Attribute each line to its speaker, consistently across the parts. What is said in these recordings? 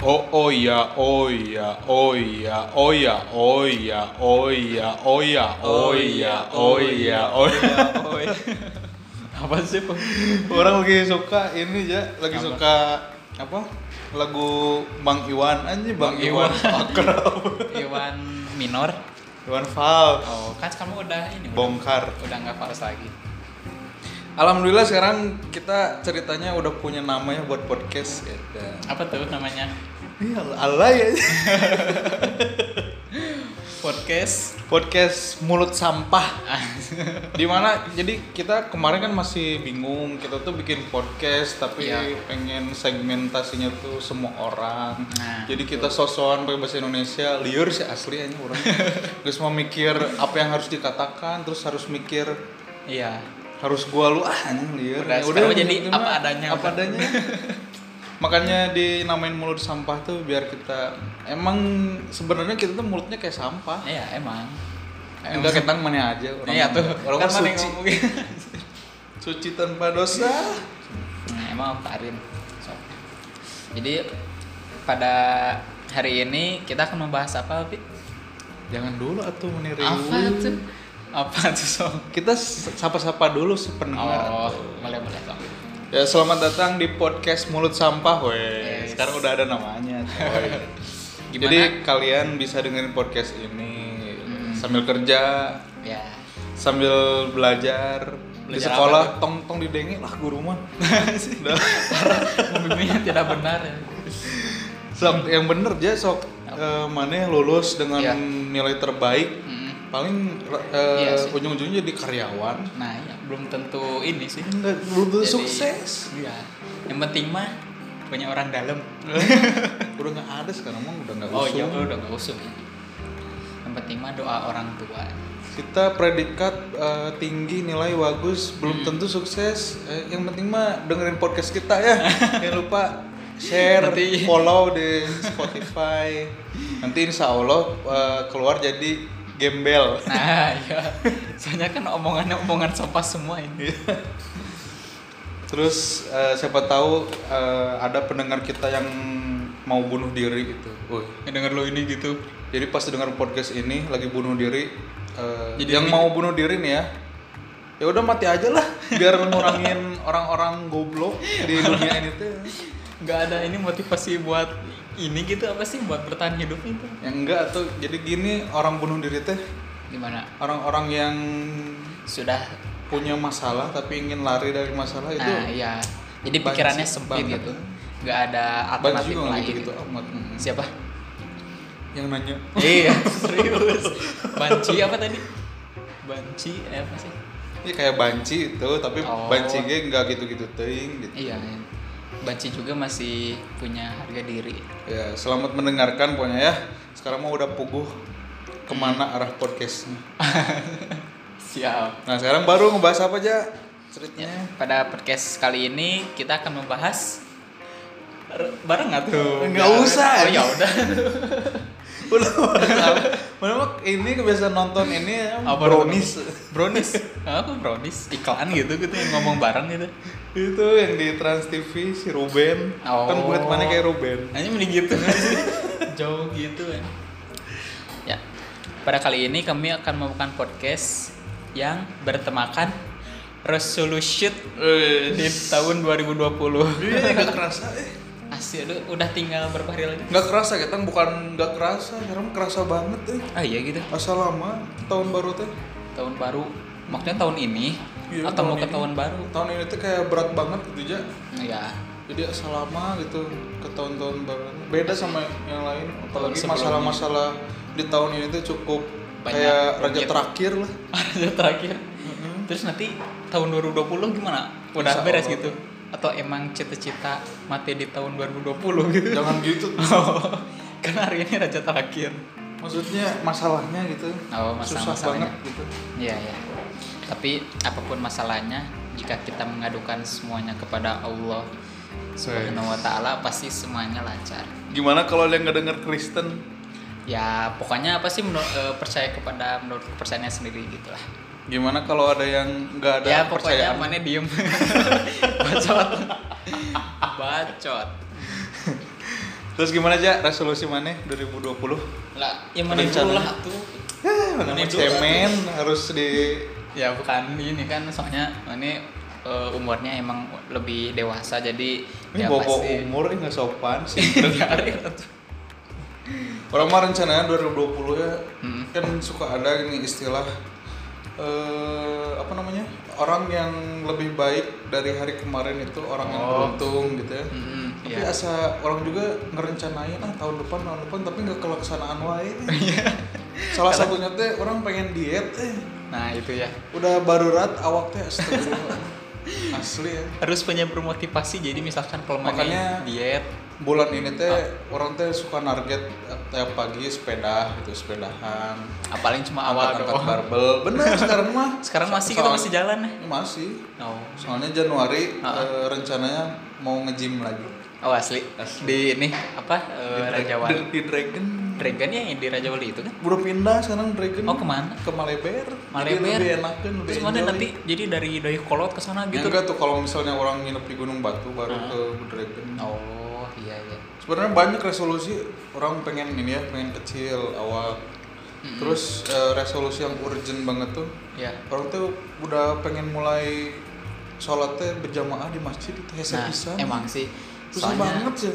Speaker 1: O- oia, oia, oia, oia, oia, oia, oia, oia, oia, oia.
Speaker 2: oya. Apa sih? Pak?
Speaker 1: Orang lagi suka ini ya, lagi
Speaker 2: Apa?
Speaker 1: suka apa? Lagu Bang Iwan aja, Bang,
Speaker 2: Bang
Speaker 1: Iwan.
Speaker 2: Iwan.
Speaker 1: Akrab.
Speaker 2: Iwan minor.
Speaker 1: Iwan Fals.
Speaker 2: Oh, kan kamu udah ini. udah-
Speaker 1: Bongkar.
Speaker 2: Udah nggak fals lagi.
Speaker 1: Alhamdulillah sekarang kita ceritanya udah punya namanya buat podcast. Iya,
Speaker 2: Apa tuh namanya?
Speaker 1: alay ya. aja.
Speaker 2: Podcast.
Speaker 1: podcast mulut sampah dimana jadi kita kemarin kan masih bingung kita tuh bikin podcast tapi
Speaker 2: Iya.
Speaker 1: pengen segmentasinya tuh semua orang
Speaker 2: Nah,
Speaker 1: jadi kita sosokan pakai bahasa Indonesia liur sih asli aja orang terus mau mikir apa yang harus dikatakan terus harus mikir
Speaker 2: Iya.
Speaker 1: harus gua lu ah anjing liur
Speaker 2: Udah,
Speaker 1: Ya
Speaker 2: sekarang jadi
Speaker 1: gitu
Speaker 2: apa
Speaker 1: mah,
Speaker 2: adanya,
Speaker 1: apa
Speaker 2: udah.
Speaker 1: adanya makanya dinamain mulut sampah tuh biar kita emang sebenarnya kita tuh mulutnya kayak sampah
Speaker 2: Iya emang.
Speaker 1: Enggak kentang mana aja orang.
Speaker 2: Iya tuh.
Speaker 1: Orang
Speaker 2: kan
Speaker 1: mah
Speaker 2: mana yang
Speaker 1: suci.
Speaker 2: ngomongin.
Speaker 1: Suci tanpa dosa.
Speaker 2: Nah, emang Karin. So. Jadi pada hari ini kita akan membahas apa, Pi?
Speaker 1: Jangan dulu atuh meniru.
Speaker 2: Apa tuh? Apa tuh, Sob?
Speaker 1: Kita s- sapa-sapa dulu si pendengar.
Speaker 2: Oh, boleh boleh, Sob.
Speaker 1: Ya selamat datang di podcast Mulut Sampah, weh.
Speaker 2: Yes.
Speaker 1: Sekarang udah ada namanya, coy.
Speaker 2: Gimana?
Speaker 1: Jadi kalian bisa dengerin podcast ini
Speaker 2: Hmm.
Speaker 1: sambil kerja,
Speaker 2: Ya.
Speaker 1: sambil belajar, di
Speaker 2: Belajar apa
Speaker 1: sekolah tong-tong didengek lah guru mah. Udah.
Speaker 2: Membimbingnya tidak benar ya.
Speaker 1: Sok yang bener aja sok eh, mana yang lulus dengan
Speaker 2: Iya.
Speaker 1: nilai terbaik
Speaker 2: Mm.
Speaker 1: paling eh,
Speaker 2: Iya sih.
Speaker 1: ujung-ujungnya jadi karyawan
Speaker 2: Nah, ya, belum tentu ini sih.
Speaker 1: nggak belum tentu
Speaker 2: Jadi-
Speaker 1: sukses
Speaker 2: Iya. Yang penting mah punya orang dalam.
Speaker 1: udah nggak ada sekarang emang udah nggak
Speaker 2: Oh,
Speaker 1: usung
Speaker 2: iya, udah gak usum ya. Yang penting mah doa orang tua.
Speaker 1: kita predikat eh, tinggi nilai bagus
Speaker 2: Hmm.
Speaker 1: belum tentu sukses Eh, yang penting mah dengerin podcast kita ya jangan lupa share
Speaker 2: Nanti-
Speaker 1: follow di Spotify nanti insya Allah eh, keluar jadi gembel
Speaker 2: Nah, iya. Soalnya kan omongannya omongan sampah semua ini.
Speaker 1: Iya. terus eh, siapa tahu eh, ada pendengar kita yang mau bunuh diri gitu Wih,
Speaker 2: denger lo ini gitu
Speaker 1: Jadi pas dengar podcast ini lagi bunuh diri, eh,
Speaker 2: Jadi
Speaker 1: yang
Speaker 2: ini-
Speaker 1: mau bunuh diri nih ya, ya udah mati aja lah, biar ngurangin orang-orang goblok di dunia ini tuh.
Speaker 2: nggak ada ini motivasi buat ini gitu apa sih buat bertahan hidup itu
Speaker 1: Yang Ya enggak tuh, jadi gini orang bunuh diri teh
Speaker 2: gimana
Speaker 1: orang-orang yang
Speaker 2: sudah
Speaker 1: punya masalah tapi ingin lari dari masalah itu.
Speaker 2: nah iya jadi
Speaker 1: banget
Speaker 2: pikirannya
Speaker 1: sih,
Speaker 2: sempit
Speaker 1: banget.
Speaker 2: gitu nggak ada
Speaker 1: Banyak
Speaker 2: alternatif
Speaker 1: juga
Speaker 2: lain
Speaker 1: gitu gitu
Speaker 2: gitu.
Speaker 1: amat. Mm.
Speaker 2: siapa
Speaker 1: Yang nanya
Speaker 2: iya serius banci apa tadi banci eh, apa sih
Speaker 1: ini kayak banci itu tapi
Speaker 2: Oh.
Speaker 1: banci gue nggak gitu-gitu ting gitu.
Speaker 2: iya iya. banci juga masih punya harga diri
Speaker 1: Ya selamat mendengarkan pokoknya ya. Sekarang mau udah puguh kemana arah podcastnya.
Speaker 2: siap
Speaker 1: Nah sekarang baru ngebahas apa aja ceritanya?
Speaker 2: Ya, pada podcast kali ini kita akan membahas R- bareng nggak tuh
Speaker 1: Nggak usah.
Speaker 2: oh ya udah
Speaker 1: Udah Mana mah ini kebiasaan nonton ini ya,
Speaker 2: Apa
Speaker 1: brownies
Speaker 2: brownies apa brownies iklan gitu gitu yang ngomong bareng gitu
Speaker 1: itu yang di Trans TV si Ruben
Speaker 2: Oh.
Speaker 1: kan buat mana kayak Ruben
Speaker 2: hanya mending gitu
Speaker 1: kan?
Speaker 2: jauh gitu ya ya pada kali ini kami akan melakukan podcast yang bertemakan resolution di tahun 2020
Speaker 1: Iya nggak kerasa eh
Speaker 2: asli lu udah tinggal berapa hari lagi
Speaker 1: nggak kerasa kita kan bukan nggak kerasa sekarang kerasa banget eh
Speaker 2: ah iya gitu
Speaker 1: masa lama tahun baru teh
Speaker 2: tahun baru maksudnya tahun ini
Speaker 1: Iya,
Speaker 2: atau
Speaker 1: tahun
Speaker 2: mau ke
Speaker 1: ini.
Speaker 2: tahun baru
Speaker 1: tahun ini tuh kayak berat banget gitu aja
Speaker 2: ya
Speaker 1: jadi asal lama gitu ke tahun-tahun baru beda sama yang lain
Speaker 2: Tahun
Speaker 1: apalagi
Speaker 2: sebelumnya.
Speaker 1: masalah-masalah di tahun ini tuh cukup
Speaker 2: Banyak
Speaker 1: kayak raja
Speaker 2: rumit.
Speaker 1: terakhir lah
Speaker 2: Ada terakhir terus nanti tahun 2020 gimana udah
Speaker 1: Insya
Speaker 2: beres
Speaker 1: Allah.
Speaker 2: gitu atau emang cita-cita mati di tahun 2020 gitu
Speaker 1: jangan gitu
Speaker 2: karena hari ini raja terakhir
Speaker 1: maksudnya masalahnya gitu
Speaker 2: Oh, masalah-
Speaker 1: susah
Speaker 2: masalahnya.
Speaker 1: banget gitu
Speaker 2: Iya ya. Tapi apapun masalahnya, jika kita mengadukan semuanya kepada Allah Subhanahu wa taala pasti semuanya lancar.
Speaker 1: gimana kalau yang nggak denger Kristen
Speaker 2: Ya, pokoknya apa sih menur- eh, percaya kepada menurut kepercayaannya sendiri gitu lah.
Speaker 1: gimana kalau ada yang nggak ada
Speaker 2: ya, pokoknya
Speaker 1: percayaan
Speaker 2: mana diem. Bacot. Bacot.
Speaker 1: Terus gimana aja resolusi mana 2020?
Speaker 2: lah yang mana itu
Speaker 1: Rencana.
Speaker 2: lah tuh
Speaker 1: Eh, mana
Speaker 2: Menipu.
Speaker 1: cemen harus di
Speaker 2: ya bukan ini kan soalnya ini eh, umurnya emang lebih dewasa jadi
Speaker 1: ini
Speaker 2: ya
Speaker 1: bobo
Speaker 2: pasti-
Speaker 1: umur ini nggak sopan sih.
Speaker 2: Nyari lah tuh.
Speaker 1: Orang mah rencananya 2020 ya
Speaker 2: Hmm.
Speaker 1: kan suka ada ini istilah eh apa namanya? Orang yang lebih baik dari hari kemarin itu orang yang
Speaker 2: Oh.
Speaker 1: beruntung gitu ya.
Speaker 2: Mm-mm,
Speaker 1: Tapi
Speaker 2: iya.
Speaker 1: asa orang juga ngerencanain ah tahun depan tahun depan tapi nggak kelaksanaan wae. anu
Speaker 2: Iya.
Speaker 1: Salah satunya teh orang pengen diet eh
Speaker 2: nah itu ya
Speaker 1: udah barurat awak teh astagfirullah. asli ya.
Speaker 2: harus punya bermotivasi jadi misalkan kalau
Speaker 1: Makanya-
Speaker 2: makanya diet
Speaker 1: Bulan ini teh
Speaker 2: Ah.
Speaker 1: orang teh suka target eh, tiap pagi sepeda gitu sepedahan.
Speaker 2: ah, paling cuma awal
Speaker 1: angkat,
Speaker 2: doang
Speaker 1: barbel. Bener sekarang mah.
Speaker 2: sekarang masih kita
Speaker 1: Soal-
Speaker 2: masih jalan ya
Speaker 1: Masih.
Speaker 2: oh
Speaker 1: Soalnya Januari
Speaker 2: Ah.
Speaker 1: eh, rencananya mau nge-gym lagi.
Speaker 2: oh asli di ini apa eh,
Speaker 1: Di
Speaker 2: Raja
Speaker 1: Dra-
Speaker 2: Wali
Speaker 1: Di Dragon.
Speaker 2: Dragon ya yang di Raja Wali itu kan
Speaker 1: Udah pindah sekarang Dragon.
Speaker 2: oh kemana
Speaker 1: Ke Maleber.
Speaker 2: Maleber.
Speaker 1: Jadi lebih enakan, lebih
Speaker 2: terus mana
Speaker 1: enjoy.
Speaker 2: nanti jadi dari Dayakolot ke sana
Speaker 1: Ya
Speaker 2: gitu
Speaker 1: enggak tuh kalau misalnya orang nginep di Gunung Batu baru
Speaker 2: Ah.
Speaker 1: ke Dragon.
Speaker 2: oh iya iya
Speaker 1: Sebenarnya banyak resolusi orang pengen ini ya, pengen kecil awal. Terus eh, resolusi yang urgent banget tuh
Speaker 2: ya
Speaker 1: orang tuh udah pengen mulai sholatnya berjamaah di masjid itu hese
Speaker 2: nah
Speaker 1: pisan
Speaker 2: emang sih
Speaker 1: Ya, susah banget sih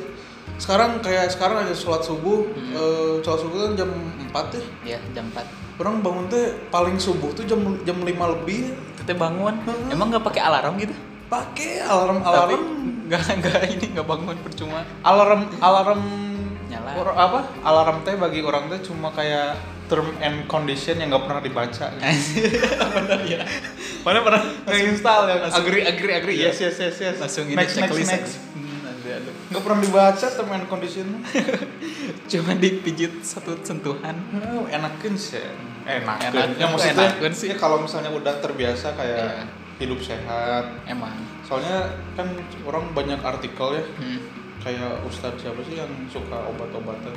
Speaker 1: sekarang kayak sekarang aja sholat subuh eh, sholat subuh kan jam 4 ya
Speaker 2: ya jam 4
Speaker 1: orang bangun teh paling subuh tuh jam jam 5 lebih
Speaker 2: kita bangun
Speaker 1: Heeh.
Speaker 2: emang nggak pakai alarm gitu
Speaker 1: pakai alarm
Speaker 2: Tapi
Speaker 1: alarm
Speaker 2: nggak nggak ini nggak bangun percuma
Speaker 1: alarm alarm
Speaker 2: Nyala.
Speaker 1: or- apa alarm teh bagi orang teh cuma kayak term and condition yang nggak pernah dibaca gitu.
Speaker 2: benar ya
Speaker 1: mana pernah install ya
Speaker 2: langsung-
Speaker 1: agree agree agree ya?
Speaker 2: Iya.
Speaker 1: yes yes yes yes
Speaker 2: langsung ini
Speaker 1: next, next,
Speaker 2: checklist
Speaker 1: next.
Speaker 2: Hmm, ada, ada.
Speaker 1: Gak pernah dibaca term and condition
Speaker 2: cuma dipijit satu sentuhan
Speaker 1: Oh, enakin sih enakin,
Speaker 2: Enakin.
Speaker 1: ya maksudnya
Speaker 2: Enakin sih.
Speaker 1: ya kalau misalnya udah terbiasa kayak
Speaker 2: Iya.
Speaker 1: hidup sehat
Speaker 2: emang
Speaker 1: soalnya kan orang banyak artikel ya
Speaker 2: hmm.
Speaker 1: kayak ustadz siapa sih yang suka obat-obatan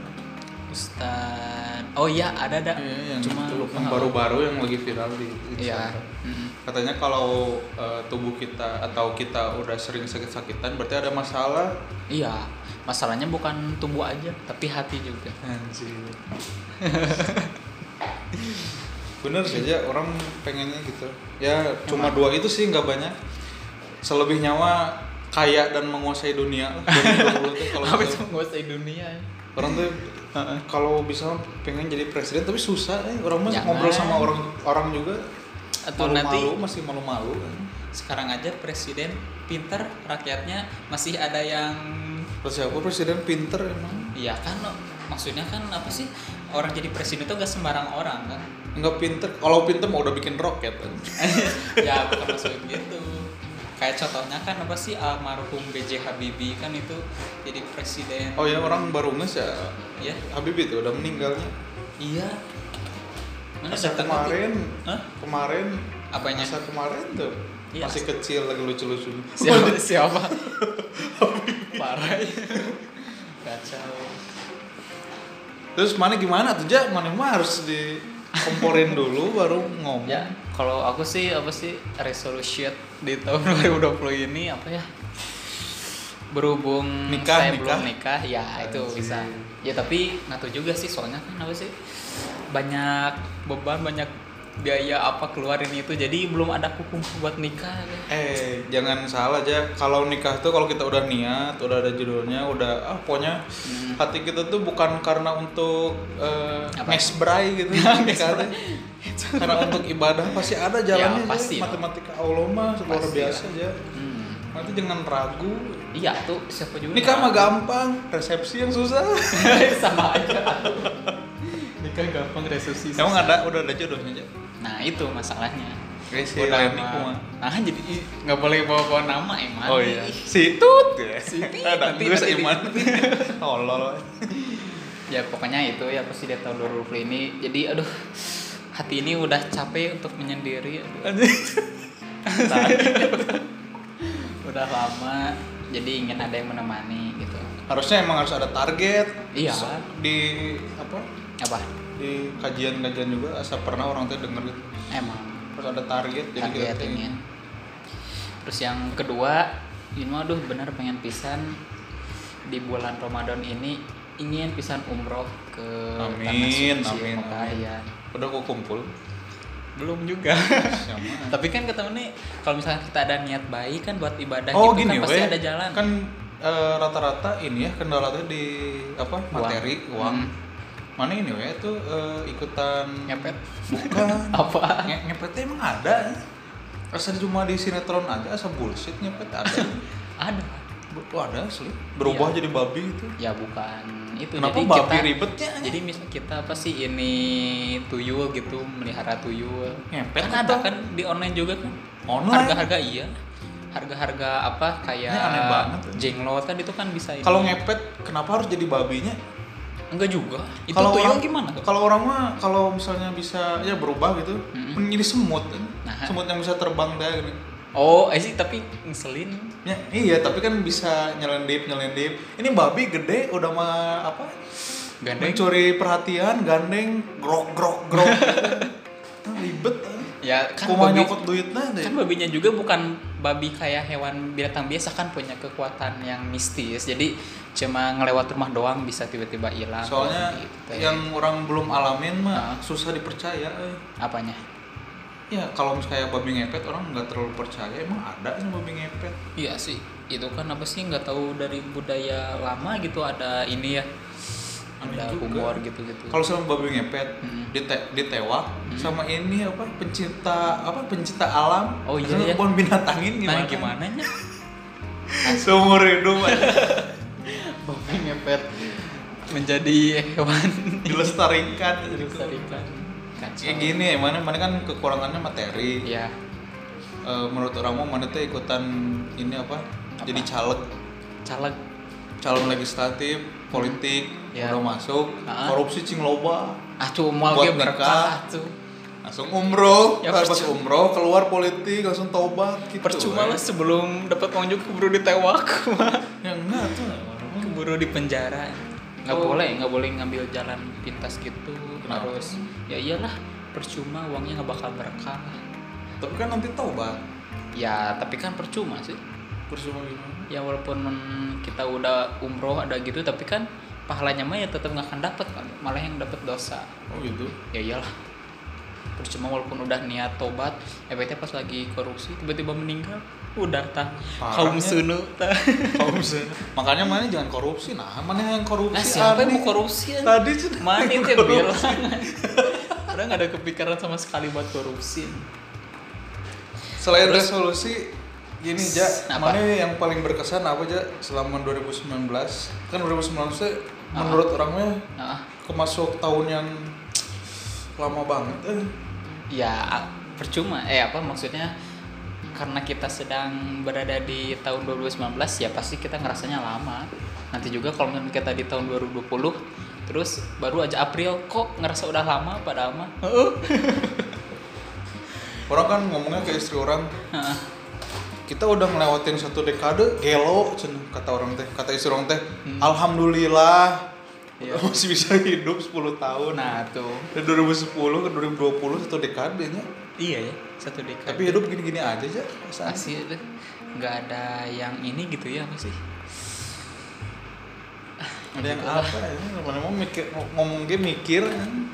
Speaker 2: Ustad oh iya ada ada
Speaker 1: Iya, yang
Speaker 2: cuma
Speaker 1: itu, yang baru-baru yang lagi viral di
Speaker 2: iya
Speaker 1: Instagram
Speaker 2: Mm-mm.
Speaker 1: katanya kalau eh, tubuh kita atau kita udah sering sakit-sakitan berarti ada masalah
Speaker 2: iya masalahnya bukan tubuh aja tapi hati juga
Speaker 1: Anjir. Bener saja orang pengennya gitu. Ya cuma dua itu sih nggak banyak. Selebihnya mah kaya dan menguasai dunia. lah. 2020 tuh kalau
Speaker 2: apa itu
Speaker 1: bisa-
Speaker 2: menguasai dunia ya.
Speaker 1: orang tuh kalau bisa pengen jadi presiden tapi susah eh. orang mah
Speaker 2: Jangan.
Speaker 1: ngobrol sama orang orang juga
Speaker 2: atau nanti
Speaker 1: malu-malu masih malu-malu kan.
Speaker 2: sekarang aja presiden pinter rakyatnya masih ada yang
Speaker 1: Terus siapa presiden pinter emang?
Speaker 2: ya kan maksudnya kan apa sih orang jadi presiden itu gak sembarang orang kan
Speaker 1: Enggak pinter. Kalau pinter mau udah bikin roket. kan.
Speaker 2: ya bukan maksud gitu kayak contohnya kan apa sih almarhum BJ Habibie kan itu jadi presiden
Speaker 1: Oh ya orang baru nges ya.
Speaker 2: ya
Speaker 1: Habib itu udah meninggalnya.
Speaker 2: iya mana
Speaker 1: Masa
Speaker 2: datang
Speaker 1: kemarin
Speaker 2: lagi? Hah?
Speaker 1: kemarin
Speaker 2: Apanya?
Speaker 1: masa kemarin tuh
Speaker 2: Iya.
Speaker 1: masih kecil lagi lucu-lucu
Speaker 2: siapa siapa parah ya. kacau
Speaker 1: terus mana gimana tuh ja mana mah harus di komporin dulu baru ngomong
Speaker 2: ya kalau aku sih apa sih resolution di tahun 2020 ini apa ya berhubung
Speaker 1: Nikah,
Speaker 2: saya
Speaker 1: nikah.
Speaker 2: belum nikah ya itu
Speaker 1: Anjing.
Speaker 2: bisa ya tapi nggak tahu juga sih soalnya kan apa sih banyak beban banyak biaya apa keluarin itu jadi belum ada hukum buat nikah ya.
Speaker 1: eh jangan salah aja kalau nikah tuh kalau kita udah niat udah ada judulnya udah ah pokoknya
Speaker 2: Hmm.
Speaker 1: hati kita tuh bukan karena untuk eh,
Speaker 2: Apa?
Speaker 1: mesbrai gitu nikah tuh. karena untuk ibadah pasti ada jalannya
Speaker 2: Ya,
Speaker 1: Ja.
Speaker 2: pasti.
Speaker 1: matematika Allah mah luar
Speaker 2: Pasti
Speaker 1: biasa aja
Speaker 2: Hmm.
Speaker 1: nanti jangan ragu
Speaker 2: iya tuh siapa juga
Speaker 1: Nikah mah gampang, resepsi yang susah.
Speaker 2: sama aja nikah gampang resolusi
Speaker 1: Emang ada udah ada jodohnya aja.
Speaker 2: nah itu masalahnya
Speaker 1: Si
Speaker 2: Bawa
Speaker 1: Rani
Speaker 2: nama.
Speaker 1: Kuma.
Speaker 2: Nah, jadi i- nggak boleh bawa-bawa nama
Speaker 1: Oh,
Speaker 2: emang.
Speaker 1: iya. Si Tut ya.
Speaker 2: Si Tut.
Speaker 1: Ada
Speaker 2: Nanti-
Speaker 1: gue
Speaker 2: nanti-
Speaker 1: Iman. Oh, Tolol.
Speaker 2: Ya pokoknya itu ya pasti di tahun 2020 ini. Jadi aduh hati ini udah capek untuk menyendiri. Aduh, udah lama. Jadi ingin ada yang menemani gitu.
Speaker 1: Harusnya emang harus ada target.
Speaker 2: Iya.
Speaker 1: Terus Di apa?
Speaker 2: Apa?
Speaker 1: Di kajian-kajian juga asal pernah orang tuh denger gitu.
Speaker 2: Emang
Speaker 1: Harus ada target jadi kita
Speaker 2: target
Speaker 1: tuh-
Speaker 2: ini. Terus yang kedua, ini mah aduh benar pengen pisan di bulan Ramadan ini ingin pisan umroh ke
Speaker 1: Amin,
Speaker 2: tanah suci
Speaker 1: amin,
Speaker 2: Mekah
Speaker 1: amin.
Speaker 2: ya.
Speaker 1: Udah kok kumpul.
Speaker 2: belum juga
Speaker 1: Sama.
Speaker 2: tapi kan kata nih kalau misalnya kita ada niat baik kan buat ibadah
Speaker 1: oh
Speaker 2: gitu
Speaker 1: gini
Speaker 2: kan pasti
Speaker 1: weh.
Speaker 2: ada jalan
Speaker 1: Kan eh, rata-rata ini ya kendala tuh di apa materi uang.
Speaker 2: Hmm.
Speaker 1: Mana ini weh tuh eh, ikutan
Speaker 2: Ngepet?
Speaker 1: Bukan.
Speaker 2: Apa?
Speaker 1: Nge- ngepetnya emang ada. Rasanya cuma di sinetron aja asal bullshit ngepet ada.
Speaker 2: ada
Speaker 1: Bu- Wah, ada asli. Berubah jadi babi itu.
Speaker 2: ya bukan itu
Speaker 1: Kenapa
Speaker 2: jadi
Speaker 1: babi
Speaker 2: kita
Speaker 1: ribetnya?
Speaker 2: jadi misal kita apa sih ini tuyul gitu melihara tuyul
Speaker 1: Ngepet
Speaker 2: kan ada
Speaker 1: atau-
Speaker 2: kan di online juga kan
Speaker 1: Online?
Speaker 2: harga-harga iya harga-harga apa kayak
Speaker 1: Ini aneh banget.
Speaker 2: jenglot kan itu kan bisa ini.
Speaker 1: Kalau ngepet kenapa harus jadi babinya?
Speaker 2: enggak juga itu
Speaker 1: Kalau
Speaker 2: tuyul
Speaker 1: orang-
Speaker 2: gimana tuh?
Speaker 1: Kalau orang mah kalau misalnya bisa ya berubah gitu,
Speaker 2: Mm-mm.
Speaker 1: menjadi semut. kan.
Speaker 2: Nah.
Speaker 1: Semut yang bisa terbang dah gitu.
Speaker 2: oh eh sih tapi ngeselin
Speaker 1: Ya, iya, tapi kan bisa nyelendip nyelendip. Ini babi gede udah mah apa?
Speaker 2: Gandeng.
Speaker 1: Mencuri perhatian, gandeng, grok grok grok. Nah, ribet.
Speaker 2: ya
Speaker 1: Kan
Speaker 2: kan
Speaker 1: Kuma
Speaker 2: babi-
Speaker 1: nyokot duitnya deh.
Speaker 2: kan babinya juga bukan babi kayak hewan binatang biasa kan punya kekuatan yang mistis jadi cuma ngelewat rumah doang bisa tiba-tiba hilang
Speaker 1: Soalnya
Speaker 2: gitu teh.
Speaker 1: yang orang belum alamin mah
Speaker 2: Nah.
Speaker 1: susah dipercaya. eh.
Speaker 2: apanya
Speaker 1: Ya kalau misalnya kayak babi ngepet orang nggak terlalu percaya emang ada sih babi ngepet.
Speaker 2: iya sih itu kan apa sih nggak tahu dari budaya lama gitu ada ini ya
Speaker 1: Aneh
Speaker 2: ada
Speaker 1: juga.
Speaker 2: humor gitu gitu
Speaker 1: Kalau sama babi ngepet
Speaker 2: Hmm.
Speaker 1: dite- ditewak sama ini apa pencinta apa pencinta alam
Speaker 2: Oh, iya,
Speaker 1: sama
Speaker 2: iya.
Speaker 1: kebun binatangin gimana?
Speaker 2: nah gimana nya
Speaker 1: Seumur hidup aja
Speaker 2: babi ngepet menjadi hewan
Speaker 1: dilestarikan gitu.
Speaker 2: dilestarikan Kacau.
Speaker 1: Kayak gini, mana mana kan kekurangannya materi.
Speaker 2: ya
Speaker 1: Eh, menurut orang mau mana tuh ikutan ini apa? Jadi caleg,
Speaker 2: caleg
Speaker 1: calon legislatif, politik,
Speaker 2: Ya.
Speaker 1: udah masuk,
Speaker 2: Ah.
Speaker 1: korupsi cing loba.
Speaker 2: ah tuh mau
Speaker 1: Buat nikah.
Speaker 2: ge berkah tuh
Speaker 1: Langsung umroh,
Speaker 2: Ya,
Speaker 1: pas pas
Speaker 2: percuma.
Speaker 1: umroh keluar politik langsung taubat gitu.
Speaker 2: percuma
Speaker 1: we.
Speaker 2: lah sebelum dapat uang juga keburu ditewak
Speaker 1: Ya enggak tuh.
Speaker 2: keburu di penjara nggak
Speaker 1: Oh.
Speaker 2: boleh nggak boleh ngambil jalan pintas gitu
Speaker 1: Kenapa?
Speaker 2: harus ya iyalah percuma uangnya nggak bakal berkah
Speaker 1: Tapi kan nanti taubat.
Speaker 2: ya tapi kan percuma sih
Speaker 1: Percuma gitu. gimana?
Speaker 2: ya walaupun kita udah umroh ada gitu tapi kan pahalanya mah ya tetap nggak akan dapat kan malah yang dapat dosa
Speaker 1: Oh gitu.
Speaker 2: ya iyalah percuma walaupun udah niat tobat efeknya pas lagi korupsi tiba-tiba meninggal udah tah
Speaker 1: Parah
Speaker 2: kaum
Speaker 1: ya.
Speaker 2: sunu tah
Speaker 1: Kalau misalnya makanya mana jangan korupsi. Nah, mana yang korupsi?
Speaker 2: Nah, siapa yang
Speaker 1: Ani?
Speaker 2: mau korupsi? ya?
Speaker 1: Tadi sudah
Speaker 2: Mana itu yang bilang? Orang nggak ada kepikiran sama sekali buat korupsi.
Speaker 1: Selain
Speaker 2: Terus- Nah,
Speaker 1: resolusi gini ja,
Speaker 2: Apa?
Speaker 1: mana yang paling berkesan apa ja selama 2019? Kan 2019 tuh
Speaker 2: Ah.
Speaker 1: menurut orangnya
Speaker 2: Nah,
Speaker 1: kemasuk tahun yang lama banget. Eh,
Speaker 2: ya a- percuma. Eh apa maksudnya? Karena kita sedang berada di tahun 2019, ya pasti kita ngerasanya lama. Nanti juga kalau misalnya kita di tahun 2020, terus baru aja April, kok ngerasa udah lama padahal mah. Heeh.
Speaker 1: Orang kan ngomongnya ke istri orang,
Speaker 2: Nah,
Speaker 1: kita udah ngelewatin satu dekade gelo cenah, kata orang teh kata istri orang teh alhamdulillah
Speaker 2: Iya.
Speaker 1: masih bisa hidup 10 tahun
Speaker 2: Nah tuh,
Speaker 1: dari 2010 ke 2020 satu dekade nya
Speaker 2: iya ya satu dekade.
Speaker 1: tapi hidup gini-gini aja aja perasaan.
Speaker 2: Asli itu nggak ada yang ini gitu ya apa sih? Gitu
Speaker 1: ada yang apa ya mana mau mikir mau- ngomong dia mikir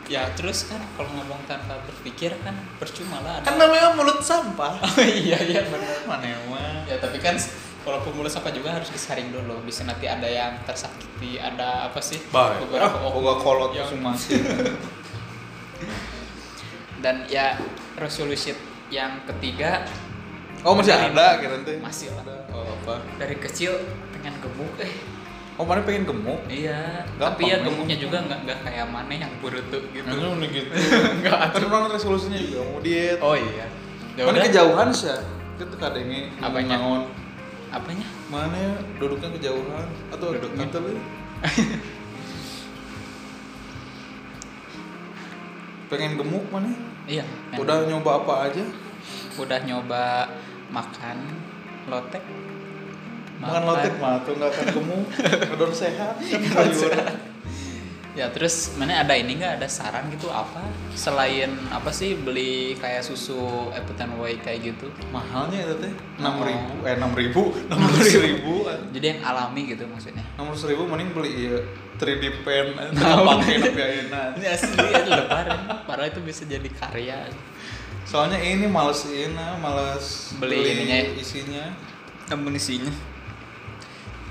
Speaker 2: Ya terus kan kalau ngomong tanpa berpikir kan percuma lah.
Speaker 1: kan
Speaker 2: Ada.
Speaker 1: namanya mulut sampah
Speaker 2: Oh, iya iya benar.
Speaker 1: mana emang
Speaker 2: Ya tapi kan kalau pemulus apa juga harus disaring dulu. Bisa nanti ada yang tersakiti, ada apa sih?
Speaker 1: baik Oh,
Speaker 2: Beberapa
Speaker 1: Ah,
Speaker 2: oknum Iya.
Speaker 1: boga kolot
Speaker 2: yang-
Speaker 1: sumasi
Speaker 2: Dan ya resolusi yang ketiga
Speaker 1: oh masih ada kira teh
Speaker 2: Masih ada.
Speaker 1: oh apa
Speaker 2: dari kecil pengen gemuk eh.
Speaker 1: oh mana pengen gemuk
Speaker 2: Iya.
Speaker 1: Gampang,
Speaker 2: tapi ya
Speaker 1: men.
Speaker 2: gemuknya juga nggak nggak kayak mana yang burutu gitu.
Speaker 1: Kayaknya udah gitu
Speaker 2: Nggak ada.
Speaker 1: Kan orang resolusinya juga mau diet
Speaker 2: Oh iya. Ya
Speaker 1: Mana
Speaker 2: udah.
Speaker 1: kejauhan sih ya? Itu kadangnya
Speaker 2: Apanya?
Speaker 1: naon.
Speaker 2: Apanya?
Speaker 1: Mana ya? Duduknya kejauhan atau duduk
Speaker 2: Duduknya.
Speaker 1: gitu lu? Pengen gemuk mana?
Speaker 2: Iya. kan.
Speaker 1: Udah nyoba apa aja?
Speaker 2: udah nyoba makan lotek
Speaker 1: Makan lotek mah tuh nggak akan gemuk, kadon sehat, kan sayuran.
Speaker 2: Ya terus mana ada ini nggak ada saran gitu apa selain apa sih beli kayak susu Eputen Way kayak gitu?
Speaker 1: Mahalnya itu teh enam
Speaker 2: Oh.
Speaker 1: ribu, eh enam ribu, enam ratus ribu,
Speaker 2: Jadi yang alami gitu maksudnya.
Speaker 1: enam ratus ribu mending beli ya 3D pen,
Speaker 2: Nah,
Speaker 1: pakai
Speaker 2: bener.
Speaker 1: tapi enak.
Speaker 2: Ini asli ya lebaran, padahal itu bisa jadi karya.
Speaker 1: Soalnya ini males ini, males
Speaker 2: Beli ininya ya?
Speaker 1: isinya.
Speaker 2: Namun isinya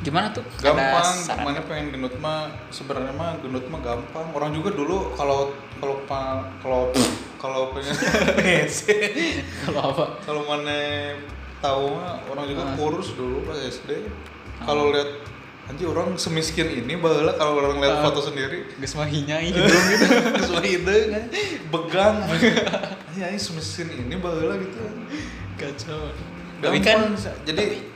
Speaker 2: gimana tuh?
Speaker 1: Gampang,
Speaker 2: ada saran?
Speaker 1: mana pengen gendut mah sebenarnya mah gendut mah gampang. Orang juga dulu kalau kalau pa- kalau kalau pengen
Speaker 2: Kalau apa?
Speaker 1: kalau mana tahu mah orang juga
Speaker 2: Ah.
Speaker 1: kurus dulu pas SD. Kalau lihat anjir orang semiskin ini baheula kalau orang lihat
Speaker 2: Ah.
Speaker 1: foto sendiri
Speaker 2: Geus mah hinyai hidung gitu.
Speaker 1: terus mah hidung,
Speaker 2: kan.
Speaker 1: eh, begang. Iya, Anjir anjir semiskin ini baheula gitu.
Speaker 2: Kacau. Tapi
Speaker 1: Gampang,
Speaker 2: kan
Speaker 1: jadi
Speaker 2: tapi-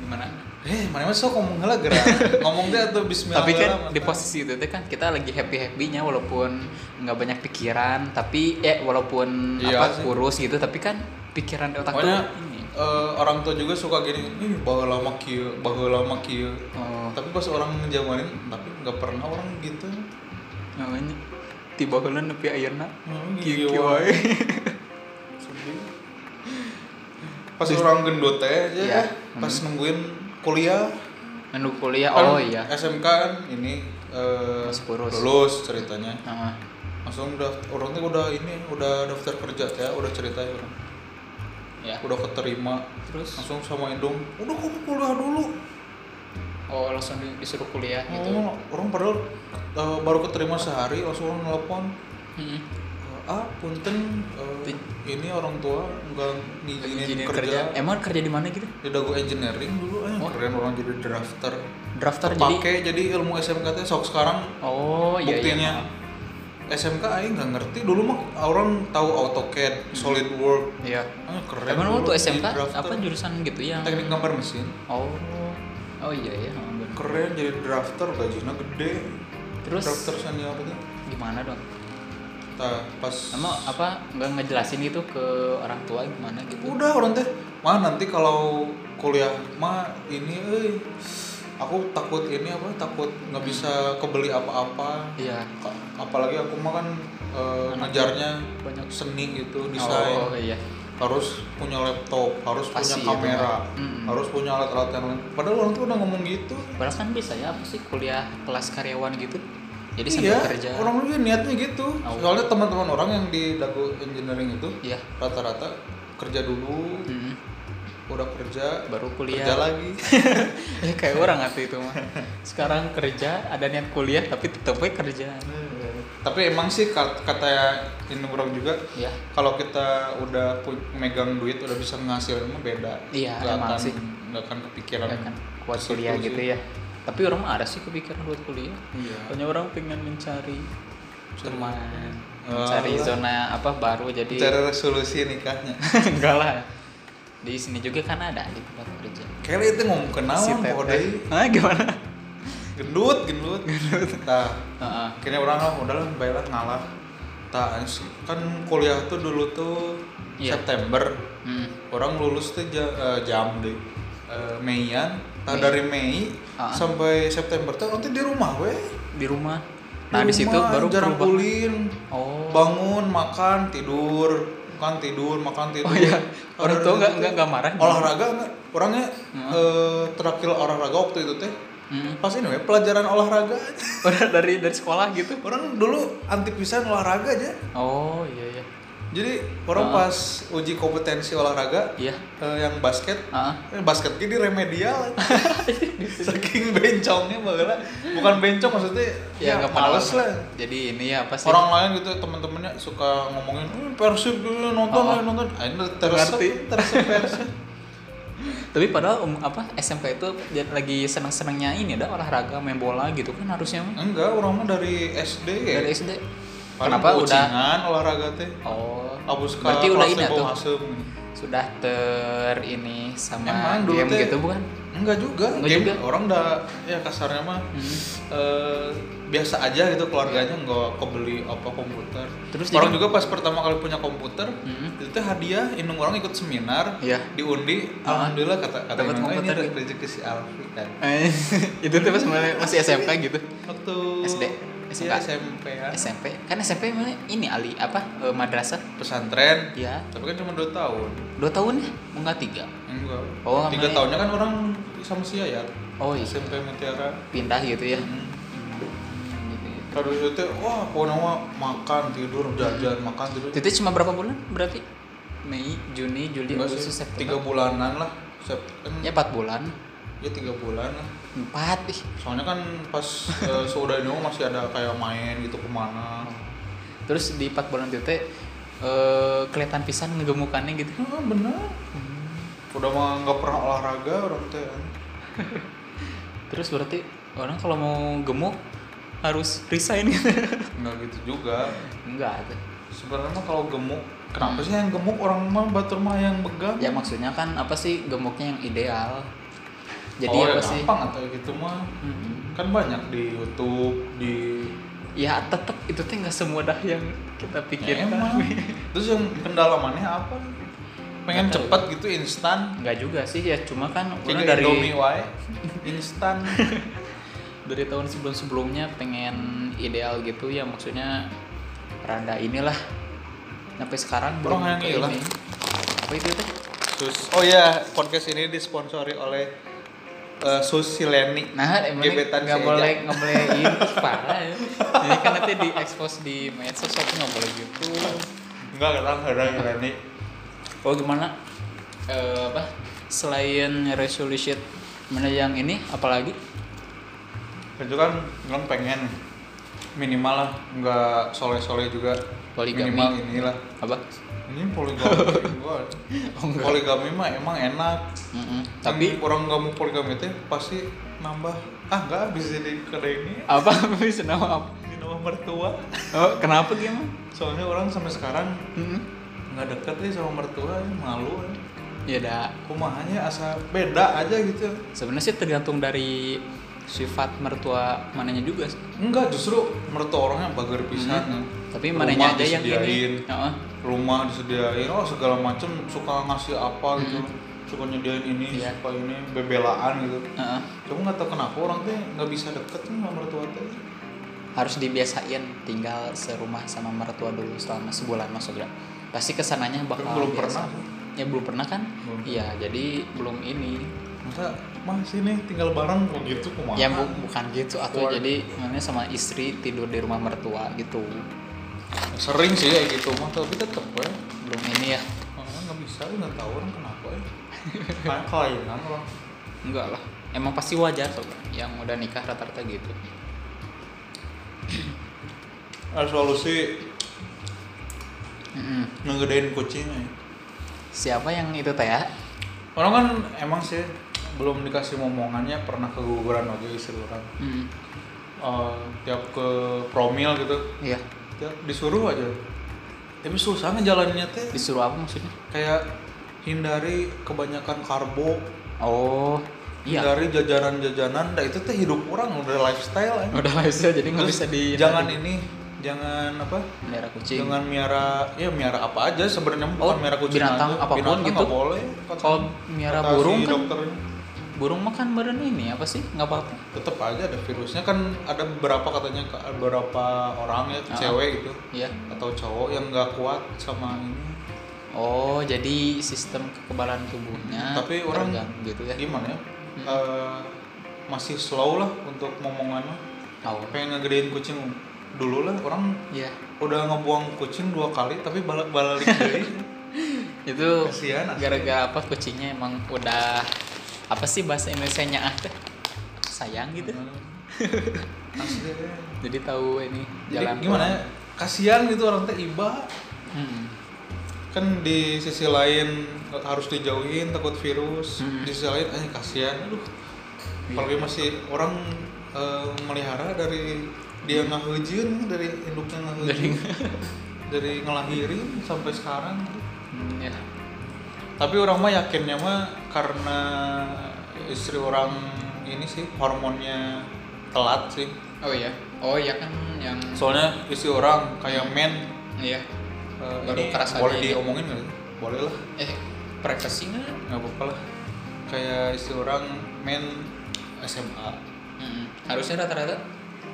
Speaker 2: gimana?
Speaker 1: Eh, mana mah sok ngomong heula gerak. ngomong deh atau bismillah.
Speaker 2: tapi
Speaker 1: heula,
Speaker 2: kan
Speaker 1: mata.
Speaker 2: di posisi itu teh kan kita lagi happy happynya walaupun nggak banyak pikiran tapi ya walaupun
Speaker 1: Iya
Speaker 2: apa
Speaker 1: sih.
Speaker 2: kurus gitu tapi kan pikiran di otak
Speaker 1: Pokoknya
Speaker 2: tuh ini
Speaker 1: eh, orang tua juga suka gini, ih baheula mah kieu, baheula mah kieu.
Speaker 2: oh
Speaker 1: Tapi pas orang ngejamanin, tapi nggak pernah orang gitu.
Speaker 2: namanya tiba bulan nepi ayeuna
Speaker 1: Hmm,
Speaker 2: kieu
Speaker 1: kieu
Speaker 2: wae.
Speaker 1: wae. Sedih. Pas orang gendut teh aja,
Speaker 2: Iya.
Speaker 1: pas nungguin kuliah.
Speaker 2: menu kuliah
Speaker 1: kan
Speaker 2: oh iya
Speaker 1: SMK kan ini eh,
Speaker 2: Masih kurus.
Speaker 1: lulus ceritanya.
Speaker 2: Nah,
Speaker 1: Langsung udah orangnya udah ini, udah daftar kerja ya, udah ceritanya orang.
Speaker 2: ya
Speaker 1: Udah keterima,
Speaker 2: terus
Speaker 1: langsung sama Indom udah kamu kuliah dulu
Speaker 2: oh langsung di- disuruh kuliah gitu
Speaker 1: gitu. orang padahal eh, baru keterima sehari langsung orang nelpon
Speaker 2: Mm-mm.
Speaker 1: eh, ah punten eh,
Speaker 2: Ti-
Speaker 1: ini orang tua nggak ngizinin
Speaker 2: Izinin
Speaker 1: kerja,
Speaker 2: kerja. emang kerja di mana gitu
Speaker 1: di dago engineering dulu eh,
Speaker 2: Oh.
Speaker 1: keren orang jadi drafter
Speaker 2: drafter jadi
Speaker 1: pakai jadi ilmu SMK teh sok sekarang
Speaker 2: oh iya
Speaker 1: buktinya
Speaker 2: iya
Speaker 1: SMK aing nggak ngerti dulu mah orang tahu AutoCAD, SolidWorks,
Speaker 2: iya
Speaker 1: ah, keren.
Speaker 2: Hmm. emang
Speaker 1: dulu
Speaker 2: waktu
Speaker 1: jadi
Speaker 2: SMK
Speaker 1: drafter.
Speaker 2: apa jurusan gitu yang
Speaker 1: teknik gambar mesin?
Speaker 2: oh oh iya iya emang bener.
Speaker 1: keren jadi drafter gajinya gede
Speaker 2: Terus?
Speaker 1: drafter senior itu
Speaker 2: gimana dong
Speaker 1: Tah, pas
Speaker 2: Emang apa nggak ngejelasin gitu ke orang tua gimana gitu?
Speaker 1: udah orang teh mah nanti kalau kuliah mah ini euy aku takut ini apa takut nggak bisa kebeli apa-apa
Speaker 2: Iya.
Speaker 1: Ka- apalagi aku mah kan eh,
Speaker 2: Anak
Speaker 1: ngajarnya
Speaker 2: banyak.
Speaker 1: seni gitu desain
Speaker 2: Oh iya.
Speaker 1: harus punya laptop harus
Speaker 2: Pasti itu,
Speaker 1: punya kamera
Speaker 2: Pak. Mm-mm.
Speaker 1: harus punya alat-alat yang lain padahal orang tuh udah ngomong gitu
Speaker 2: Padahal kan bisa ya apa sih kuliah kelas karyawan gitu. Jadi sambil
Speaker 1: iya,
Speaker 2: kerja.
Speaker 1: orang juga niatnya gitu.
Speaker 2: Oh.
Speaker 1: Soalnya teman-teman orang yang di dago engineering itu
Speaker 2: Iya.
Speaker 1: rata-rata kerja dulu,
Speaker 2: Mm-mm.
Speaker 1: udah kerja,
Speaker 2: Hmm. Baru kuliah.
Speaker 1: kerja lagi.
Speaker 2: ya kayak orang waktu itu mah. Sekarang kerja ada niat kuliah tapi tetep we kerja.
Speaker 1: Tapi emang sih kat- kata ini orang juga
Speaker 2: Iya.
Speaker 1: kalau kita udah pu- megang duit udah bisa ngasilin mah beda.
Speaker 2: Iya,
Speaker 1: Nggak
Speaker 2: emang
Speaker 1: akan-
Speaker 2: sih.
Speaker 1: nggak akan kepikiran.
Speaker 2: Ya kan kuat
Speaker 1: ke situ
Speaker 2: kuliah
Speaker 1: sih.
Speaker 2: gitu ya. Tapi orang mah ada sih kepikiran buat kuliah.
Speaker 1: Iya.
Speaker 2: Banyak orang pengen mencari teman,
Speaker 1: Oh,
Speaker 2: mencari
Speaker 1: lah.
Speaker 2: zona apa baru jadi
Speaker 1: Cara resolusi nikahnya.
Speaker 2: enggak lah di sini juga kan ada di tempat kerja
Speaker 1: Kayaknya itu ngomong kenal
Speaker 2: Si
Speaker 1: si
Speaker 2: Teteh.
Speaker 1: deh.
Speaker 2: Hah, gimana
Speaker 1: Gendut, gendut. Nah,
Speaker 2: Heeh.
Speaker 1: akhirnya orang lah udah lah baiklah ngalah tak kan kuliah tuh dulu tuh
Speaker 2: Iya.
Speaker 1: September
Speaker 2: Hmm.
Speaker 1: orang lulus tuh ja- eh, jam deh Eh, Meian tak
Speaker 2: Mei.
Speaker 1: dari Mei
Speaker 2: Ah.
Speaker 1: sampai September tuh nanti di rumah weh
Speaker 2: di rumah
Speaker 1: Di
Speaker 2: nah di situ
Speaker 1: rumah,
Speaker 2: baru
Speaker 1: jarang
Speaker 2: berubah.
Speaker 1: pulin
Speaker 2: oh
Speaker 1: bangun makan tidur makan tidur makan tidur
Speaker 2: Oh, iya. Orang
Speaker 1: Ada
Speaker 2: tua nggak-
Speaker 1: gitu.
Speaker 2: nggak- nggak marah?
Speaker 1: olahraga nggak? orangnya eh, terakhir olahraga waktu itu teh
Speaker 2: Hmm.
Speaker 1: pas ini weh pelajaran olahraga aja.
Speaker 2: Orang dari dari sekolah gitu
Speaker 1: orang dulu anti pisan olahraga aja
Speaker 2: oh iya iya
Speaker 1: jadi orang
Speaker 2: Ah.
Speaker 1: pas uji kompetensi olahraga
Speaker 2: iya
Speaker 1: eh,
Speaker 2: Ah.
Speaker 1: yang basket
Speaker 2: Heeh.
Speaker 1: eh, basket ini remedial
Speaker 2: Iya,
Speaker 1: saking bencongnya bagaimana bukan bencong maksudnya
Speaker 2: ya nggak
Speaker 1: males
Speaker 2: apa-apa.
Speaker 1: lah
Speaker 2: jadi ini ya apa sih
Speaker 1: orang lain gitu teman-temannya suka ngomongin "Eh, persib eh, nonton
Speaker 2: Ah.
Speaker 1: eh, nonton akhirnya tersep
Speaker 2: Ngerti.
Speaker 1: tersep persib
Speaker 2: tapi padahal um, apa SMK itu dia lagi seneng-senengnya ini dah olahraga main bola gitu kan harusnya mah.
Speaker 1: enggak orang mah dari SD ya
Speaker 2: dari SD
Speaker 1: Paling
Speaker 2: kenapa udah
Speaker 1: kucingan olahraga teh
Speaker 2: oh
Speaker 1: abus ka
Speaker 2: berarti udah
Speaker 1: kelas
Speaker 2: ini ya,
Speaker 1: teh
Speaker 2: tuh
Speaker 1: bau asem.
Speaker 2: sudah ter ini sama
Speaker 1: Emang dulu
Speaker 2: game
Speaker 1: teh-
Speaker 2: gitu bukan?
Speaker 1: enggak juga
Speaker 2: Enggak
Speaker 1: game
Speaker 2: juga.
Speaker 1: orang udah ya kasarnya mah
Speaker 2: Hmm.
Speaker 1: eh, biasa aja gitu keluarganya nggak kebeli apa komputer
Speaker 2: Terus
Speaker 1: orang
Speaker 2: jadi-
Speaker 1: juga pas pertama kali punya komputer
Speaker 2: Hmm.
Speaker 1: itu teh hadiah indung orang ikut seminar
Speaker 2: Iya.
Speaker 1: diundi
Speaker 2: Ah.
Speaker 1: alhamdulillah kata kata
Speaker 2: Dapat
Speaker 1: Indung, "Ah,
Speaker 2: komputer
Speaker 1: ini
Speaker 2: gitu."
Speaker 1: rezeki si Alfi kan
Speaker 2: itu tuh pas mulai- masih SMK gitu.
Speaker 1: waktu
Speaker 2: SD.
Speaker 1: Iya,
Speaker 2: SMK
Speaker 1: SMP ya.
Speaker 2: SMP kan SMP mana ini Ali apa eh, madrasah
Speaker 1: Pesantren.
Speaker 2: ya
Speaker 1: Tapi kan cuma 2 tahun.
Speaker 2: dua tahun ya enggak tiga
Speaker 1: Enggak.
Speaker 2: Oh,
Speaker 1: Tiga
Speaker 2: namanya-
Speaker 1: tahunnya kan orang sama si Yayat.
Speaker 2: oh iya
Speaker 1: SMP Mutiara.
Speaker 2: pindah gitu ya
Speaker 1: Hmm. Terus itu wah pokoknya mah makan tidur jajan makan tidur.
Speaker 2: itu cuma berapa bulan berarti Mei Juni Juli
Speaker 1: Enggak
Speaker 2: Agustus
Speaker 1: sih, tiga
Speaker 2: September
Speaker 1: bulanan lah. September.
Speaker 2: ya empat bulan
Speaker 1: Ya tiga bulan lah.
Speaker 2: empat ih
Speaker 1: Soalnya kan pas eh, saudara ini masih ada kayak main gitu kemana.
Speaker 2: terus di empat bulan itu teh eh, kelihatan pisan ngegemukannya gitu
Speaker 1: Nah, bener.
Speaker 2: Hmm.
Speaker 1: Udah mah nggak pernah olahraga orang teh. kan.
Speaker 2: terus berarti orang kalau mau gemuk harus resign
Speaker 1: Nggak gitu juga.
Speaker 2: enggak tuh
Speaker 1: Sebenarnya mah kalau gemuk, kenapa sih yang gemuk orang mah batur mah yang begang?
Speaker 2: Hmm. ya maksudnya kan apa sih gemuknya yang ideal jadi
Speaker 1: oh, ya
Speaker 2: apa sih
Speaker 1: gampang atau gitu mah
Speaker 2: Mm-mm.
Speaker 1: kan banyak di YouTube di
Speaker 2: Mm-hmm. ya tetep itu teh nggak semudah yang kita
Speaker 1: Ya,
Speaker 2: pikirkan
Speaker 1: emang. Terus yang kendala maneh apa? Pengen
Speaker 2: Nggak tahu.
Speaker 1: cepet gitu instan.
Speaker 2: nggak juga sih ya cuma kan orang
Speaker 1: Jadi
Speaker 2: dari
Speaker 1: Indomie wae instan.
Speaker 2: dari tahun sebelum sebelumnya pengen ideal gitu ya maksudnya rada inilah sampai sekarang belum
Speaker 1: Orang yang
Speaker 2: ke
Speaker 1: iyalah.
Speaker 2: ini. apa itu teh
Speaker 1: Sus. Oh ya, podcast ini disponsori oleh eh, Sus Sileni.
Speaker 2: nah emang
Speaker 1: Gebetan
Speaker 2: nggak
Speaker 1: si
Speaker 2: boleh
Speaker 1: Eja.
Speaker 2: nggak boleh ini parah ya jadi kan nanti di expose di medsos aku nggak boleh gitu
Speaker 1: Enggak kadang kadang Sileni.
Speaker 2: oh gimana Eh, apa selain resolution mana yang ini apalagi
Speaker 1: Itu kan kan pengen minimal lah nggak soleh-soleh juga
Speaker 2: Poligami.
Speaker 1: minimal inilah
Speaker 2: apa
Speaker 1: ini poligami gua.
Speaker 2: Oh, enggak.
Speaker 1: poligami mah emang enak
Speaker 2: Mm-mm. tapi
Speaker 1: tapi orang nggak mau poligami teh pasti nambah ah nggak bisa jadi kedai ini
Speaker 2: apa bisa nama apa
Speaker 1: ini nama mertua
Speaker 2: oh, kenapa gimana
Speaker 1: soalnya orang sampai sekarang
Speaker 2: hmm.
Speaker 1: nggak deket nih sama mertua ya malu ya.
Speaker 2: ya dah
Speaker 1: kumahannya asa beda aja gitu
Speaker 2: sebenarnya sih tergantung dari sifat mertua mananya juga sih.
Speaker 1: enggak justru mertua orangnya bager pisan
Speaker 2: Hmm.
Speaker 1: ya.
Speaker 2: tapi
Speaker 1: Rumah
Speaker 2: mananya aja yang
Speaker 1: disediain,
Speaker 2: ini Heeh.
Speaker 1: rumah disediain oh segala macem suka ngasih apa gitu suka nyediain ini
Speaker 2: Hmm. Iya.
Speaker 1: suka ini bebelaan gitu
Speaker 2: Heeh.
Speaker 1: cuma nggak tahu kenapa orang tuh nggak bisa deket nih sama mertua tuh
Speaker 2: harus dibiasain tinggal serumah sama mertua dulu selama sebulan maksudnya pasti kesananya bakal
Speaker 1: Kan belum
Speaker 2: biasa.
Speaker 1: pernah.
Speaker 2: ya belum pernah kan
Speaker 1: Belum.
Speaker 2: iya jadi belum ini
Speaker 1: masa mas ini tinggal bareng kok gitu kumaha
Speaker 2: ya bu- bukan gitu atau
Speaker 1: Keluar.
Speaker 2: jadi namanya sama istri tidur di rumah mertua gitu
Speaker 1: sering sih kayak gitu mah tapi tetep ya
Speaker 2: belum ini ya
Speaker 1: orang nggak bisa nggak tahu orang kenapa ya kayak kelainan orang
Speaker 2: enggak lah emang pasti wajar sobat yang udah nikah rata-rata gitu
Speaker 1: resolusi
Speaker 2: Mm-mm.
Speaker 1: ngegedein kucing ya.
Speaker 2: siapa yang itu teh ya
Speaker 1: orang kan emang sih belum dikasih momongannya pernah keguguran aja istri orang
Speaker 2: Mm.
Speaker 1: Eh, tiap ke promil gitu
Speaker 2: Iya.
Speaker 1: tiap disuruh aja tapi susah ngejalaninnya teh
Speaker 2: Disuruh apa maksudnya?
Speaker 1: kayak hindari kebanyakan karbo
Speaker 2: Oh, iya.
Speaker 1: hindari jajanan-jajanan nah itu teh hidup orang udah lifestyle ya.
Speaker 2: Udah lifestyle jadi nggak
Speaker 1: Terus
Speaker 2: bisa di
Speaker 1: jangan ini jangan apa
Speaker 2: melihara kucing.
Speaker 1: Dengan miara, ya miara apa aja sebenarnya bukan
Speaker 2: Oh,
Speaker 1: miara kucing
Speaker 2: binatang
Speaker 1: aja.
Speaker 2: apapun
Speaker 1: binatang
Speaker 2: gitu.
Speaker 1: nggak boleh. kata-
Speaker 2: Kalau miara
Speaker 1: kata
Speaker 2: burung
Speaker 1: si
Speaker 2: kan-
Speaker 1: dokternya.
Speaker 2: Burung makan badan ini apa sih? Nggak apa-apa.
Speaker 1: tetap aja ada virusnya kan ada beberapa katanya ke- beberapa orang ya
Speaker 2: Ah.
Speaker 1: cewek gitu
Speaker 2: Iya.
Speaker 1: atau cowok yang nggak kuat sama ini.
Speaker 2: Oh, jadi sistem kekebalan tubuhnya.
Speaker 1: Tapi orang
Speaker 2: terganggu gitu ya.
Speaker 1: Gimana ya? Eh, masih slow lah untuk ngomongannya.
Speaker 2: Oh,
Speaker 1: Pengen ngegedein kucing dulu lah orang
Speaker 2: iya.
Speaker 1: udah ngebuang kucing dua kali tapi balik balik dari
Speaker 2: Itu
Speaker 1: Kasihan, asli.
Speaker 2: gara-gara apa kucingnya emang udah apa sih bahasa Indonesia-nya ah teh? Sayang gitu.
Speaker 1: Nah, Asli.
Speaker 2: Jadi tahu ini
Speaker 1: Jadi
Speaker 2: jalan.
Speaker 1: gimana ya?
Speaker 2: pulang.
Speaker 1: Kasihan gitu orang teh iba.
Speaker 2: Mm-mm.
Speaker 1: Kan di sisi lain harus dijauhin takut virus.
Speaker 2: Hmm.
Speaker 1: Di sisi lain eh kasihan. Aduh.
Speaker 2: Iya.
Speaker 1: Apalagi masih orang eh, melihara dari dia ngaheujeun dari induknya ngaheujeun. dari ngelahirin sampai sekarang.
Speaker 2: Hmm, ya.
Speaker 1: Tapi orang mah yakinnya mah karena istri orang ini sih hormonnya telat sih.
Speaker 2: Oh iya. Oh iya kan yang
Speaker 1: Soalnya istri orang kayak men
Speaker 2: iya.
Speaker 1: Eh,
Speaker 2: Baru
Speaker 1: ini
Speaker 2: kerasa
Speaker 1: boleh
Speaker 2: aja ya.
Speaker 1: diomongin nggak? sih? Boleh lah,
Speaker 2: Eh, prestasi nggak?
Speaker 1: nggak apa-apa lah. Kayak istilah orang main SMA,
Speaker 2: Mm-mm. Hmm. Harusnya rata-rata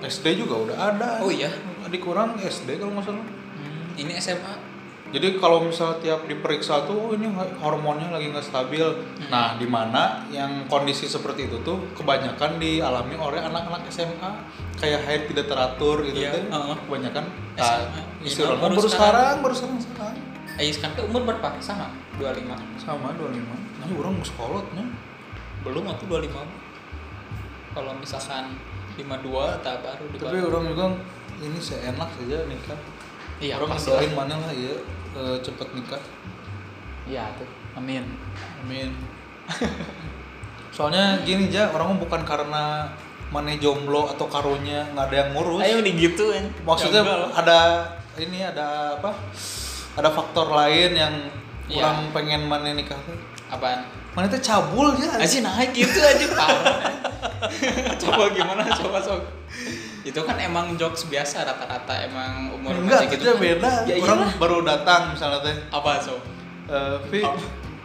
Speaker 1: SD juga udah ada.
Speaker 2: Oh iya?
Speaker 1: Adik kurang SD kalau nggak salah.
Speaker 2: Hmm, ini SMA
Speaker 1: Jadi kalau misal tiap diperiksa tuh oh, ini hormonnya lagi nggak stabil.
Speaker 2: Hmm.
Speaker 1: Nah, di mana yang kondisi seperti itu tuh kebanyakan dialami oleh anak-anak SMA kayak haid tidak teratur gitu
Speaker 2: Iya,
Speaker 1: kan.
Speaker 2: heeh.
Speaker 1: Kebanyakan
Speaker 2: SMA.
Speaker 1: nah,
Speaker 2: Iya,
Speaker 1: isi hormon
Speaker 2: baru
Speaker 1: baru, sekarang, baru sekarang, sekarang.
Speaker 2: Ais kan ke umur berapa? Sama? 25
Speaker 1: Sama 25. Nah, orang mau sekolotnya.
Speaker 2: Belum aku 25 Kalau misalkan 52 tak baru di
Speaker 1: Tapi orang juga ini seenak saja nikah.
Speaker 2: Iya,
Speaker 1: orang
Speaker 2: pasti
Speaker 1: doain mana lah ya eh, cepet nikah.
Speaker 2: Iya tuh Amin
Speaker 1: Amin. Soalnya gini aja, orang mah bukan karena mana jomblo atau karunya nggak ada yang ngurus.
Speaker 2: Ayo digituin
Speaker 1: Maksudnya
Speaker 2: Ya, enggak lah.
Speaker 1: ada ini ada apa? Ada faktor lain yang
Speaker 2: Iya.
Speaker 1: orang pengen mana nikah tuh.
Speaker 2: Apaan?
Speaker 1: Mana teh cabul ya.
Speaker 2: Aja nah gitu aja parah Coba gimana coba sok Itu kan emang jokes biasa rata-rata emang umur
Speaker 1: Enggak,
Speaker 2: masih
Speaker 1: itu
Speaker 2: kan.
Speaker 1: beda.
Speaker 2: Ya
Speaker 1: orang
Speaker 2: iyalah.
Speaker 1: baru datang misalnya teh.
Speaker 2: Apa sok?
Speaker 1: Eh, Vi,
Speaker 2: Apa?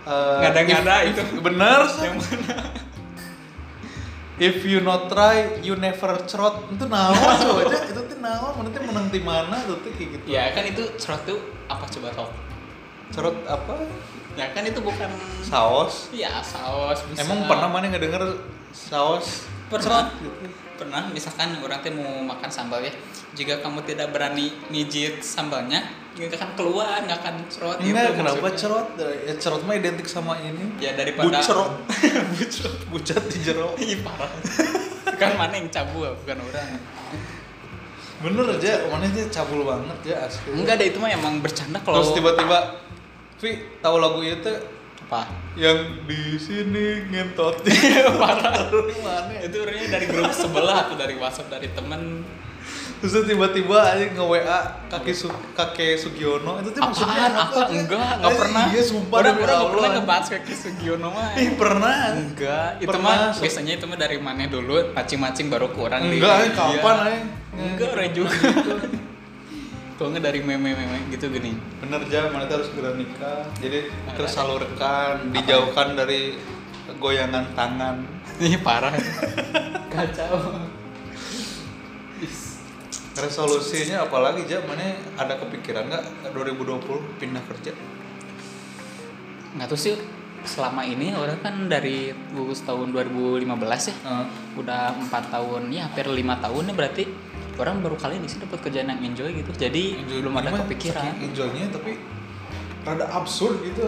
Speaker 1: eh,
Speaker 2: Ngada-ngada
Speaker 1: if-
Speaker 2: itu.
Speaker 1: Bener. Sok.
Speaker 2: Yang mana?
Speaker 1: If you not try, you never trot. Itu nawa coba itu teh nawa, mana teh menang di mana tuh teh kayak gitu.
Speaker 2: Ya kan itu cerot tuh apa coba sok?
Speaker 1: Cerut apa?
Speaker 2: Ya kan itu bukan
Speaker 1: Saus.
Speaker 2: Ya saos bisa.
Speaker 1: Emang pernah mana ngedenger saus?
Speaker 2: Pernah. Pernah misalkan orang teh mau makan sambal ya. Jika kamu tidak berani mijit sambalnya, nggak akan keluar, nggak akan cerot.
Speaker 1: Enggak, kenapa
Speaker 2: Iya, maksudnya.
Speaker 1: cerot? Ya cerot mah identik sama ini.
Speaker 2: Ya daripada
Speaker 1: Bucerot. Bucerot. Bucat di jero.
Speaker 2: Ih parah. Kan mana yang cabul, bukan orang.
Speaker 1: Bener aja, mana aja cabul banget ya asli.
Speaker 2: Enggak ada itu mah emang bercanda kalau
Speaker 1: Terus tiba-tiba Vi tahu lagu itu
Speaker 2: apa?
Speaker 1: yang di sini ngentot
Speaker 2: parah.
Speaker 1: mana?
Speaker 2: itu orangnya dari grup sebelah atau dari WhatsApp dari temen
Speaker 1: Terus dia tiba-tiba aja nge WA kakek Su kakek Sugiono itu tuh maksudnya
Speaker 2: apaan apa enggak enggak
Speaker 1: Eh,
Speaker 2: pernah
Speaker 1: Iya sumpah
Speaker 2: orang
Speaker 1: demi
Speaker 2: orang nggak
Speaker 1: Allah.
Speaker 2: pernah ngebahas kayak gitu, Sugiono mah
Speaker 1: Ih pernah.
Speaker 2: Enggak, itu
Speaker 1: Pernah,
Speaker 2: mah
Speaker 1: so-
Speaker 2: biasanya itu mah dari mana dulu, macing-macing baru ke orang di-
Speaker 1: Enggak, eh,
Speaker 2: Iya.
Speaker 1: kapan aja?
Speaker 2: Enggak, orang juga. Kalau enggak dari meme-meme gitu gini.
Speaker 1: Bener aja, mana tuh harus segera nikah. Jadi
Speaker 2: Makanya.
Speaker 1: tersalurkan, dijauhkan dari goyangan tangan.
Speaker 2: Ini parah. Kacau.
Speaker 1: Resolusinya apalagi aja, mana ada kepikiran nggak 2020 pindah kerja?
Speaker 2: Enggak tuh sih selama ini orang kan dari lulus tahun 2015 ya.
Speaker 1: Heeh.
Speaker 2: Udah 4 tahun, ya hampir 5 tahun ya berarti orang baru kali ini sih dapat kerjaan yang enjoy gitu. Jadi belum ada
Speaker 1: Cuman
Speaker 2: kepikiran.
Speaker 1: saking Enjoynya tapi rada absurd gitu.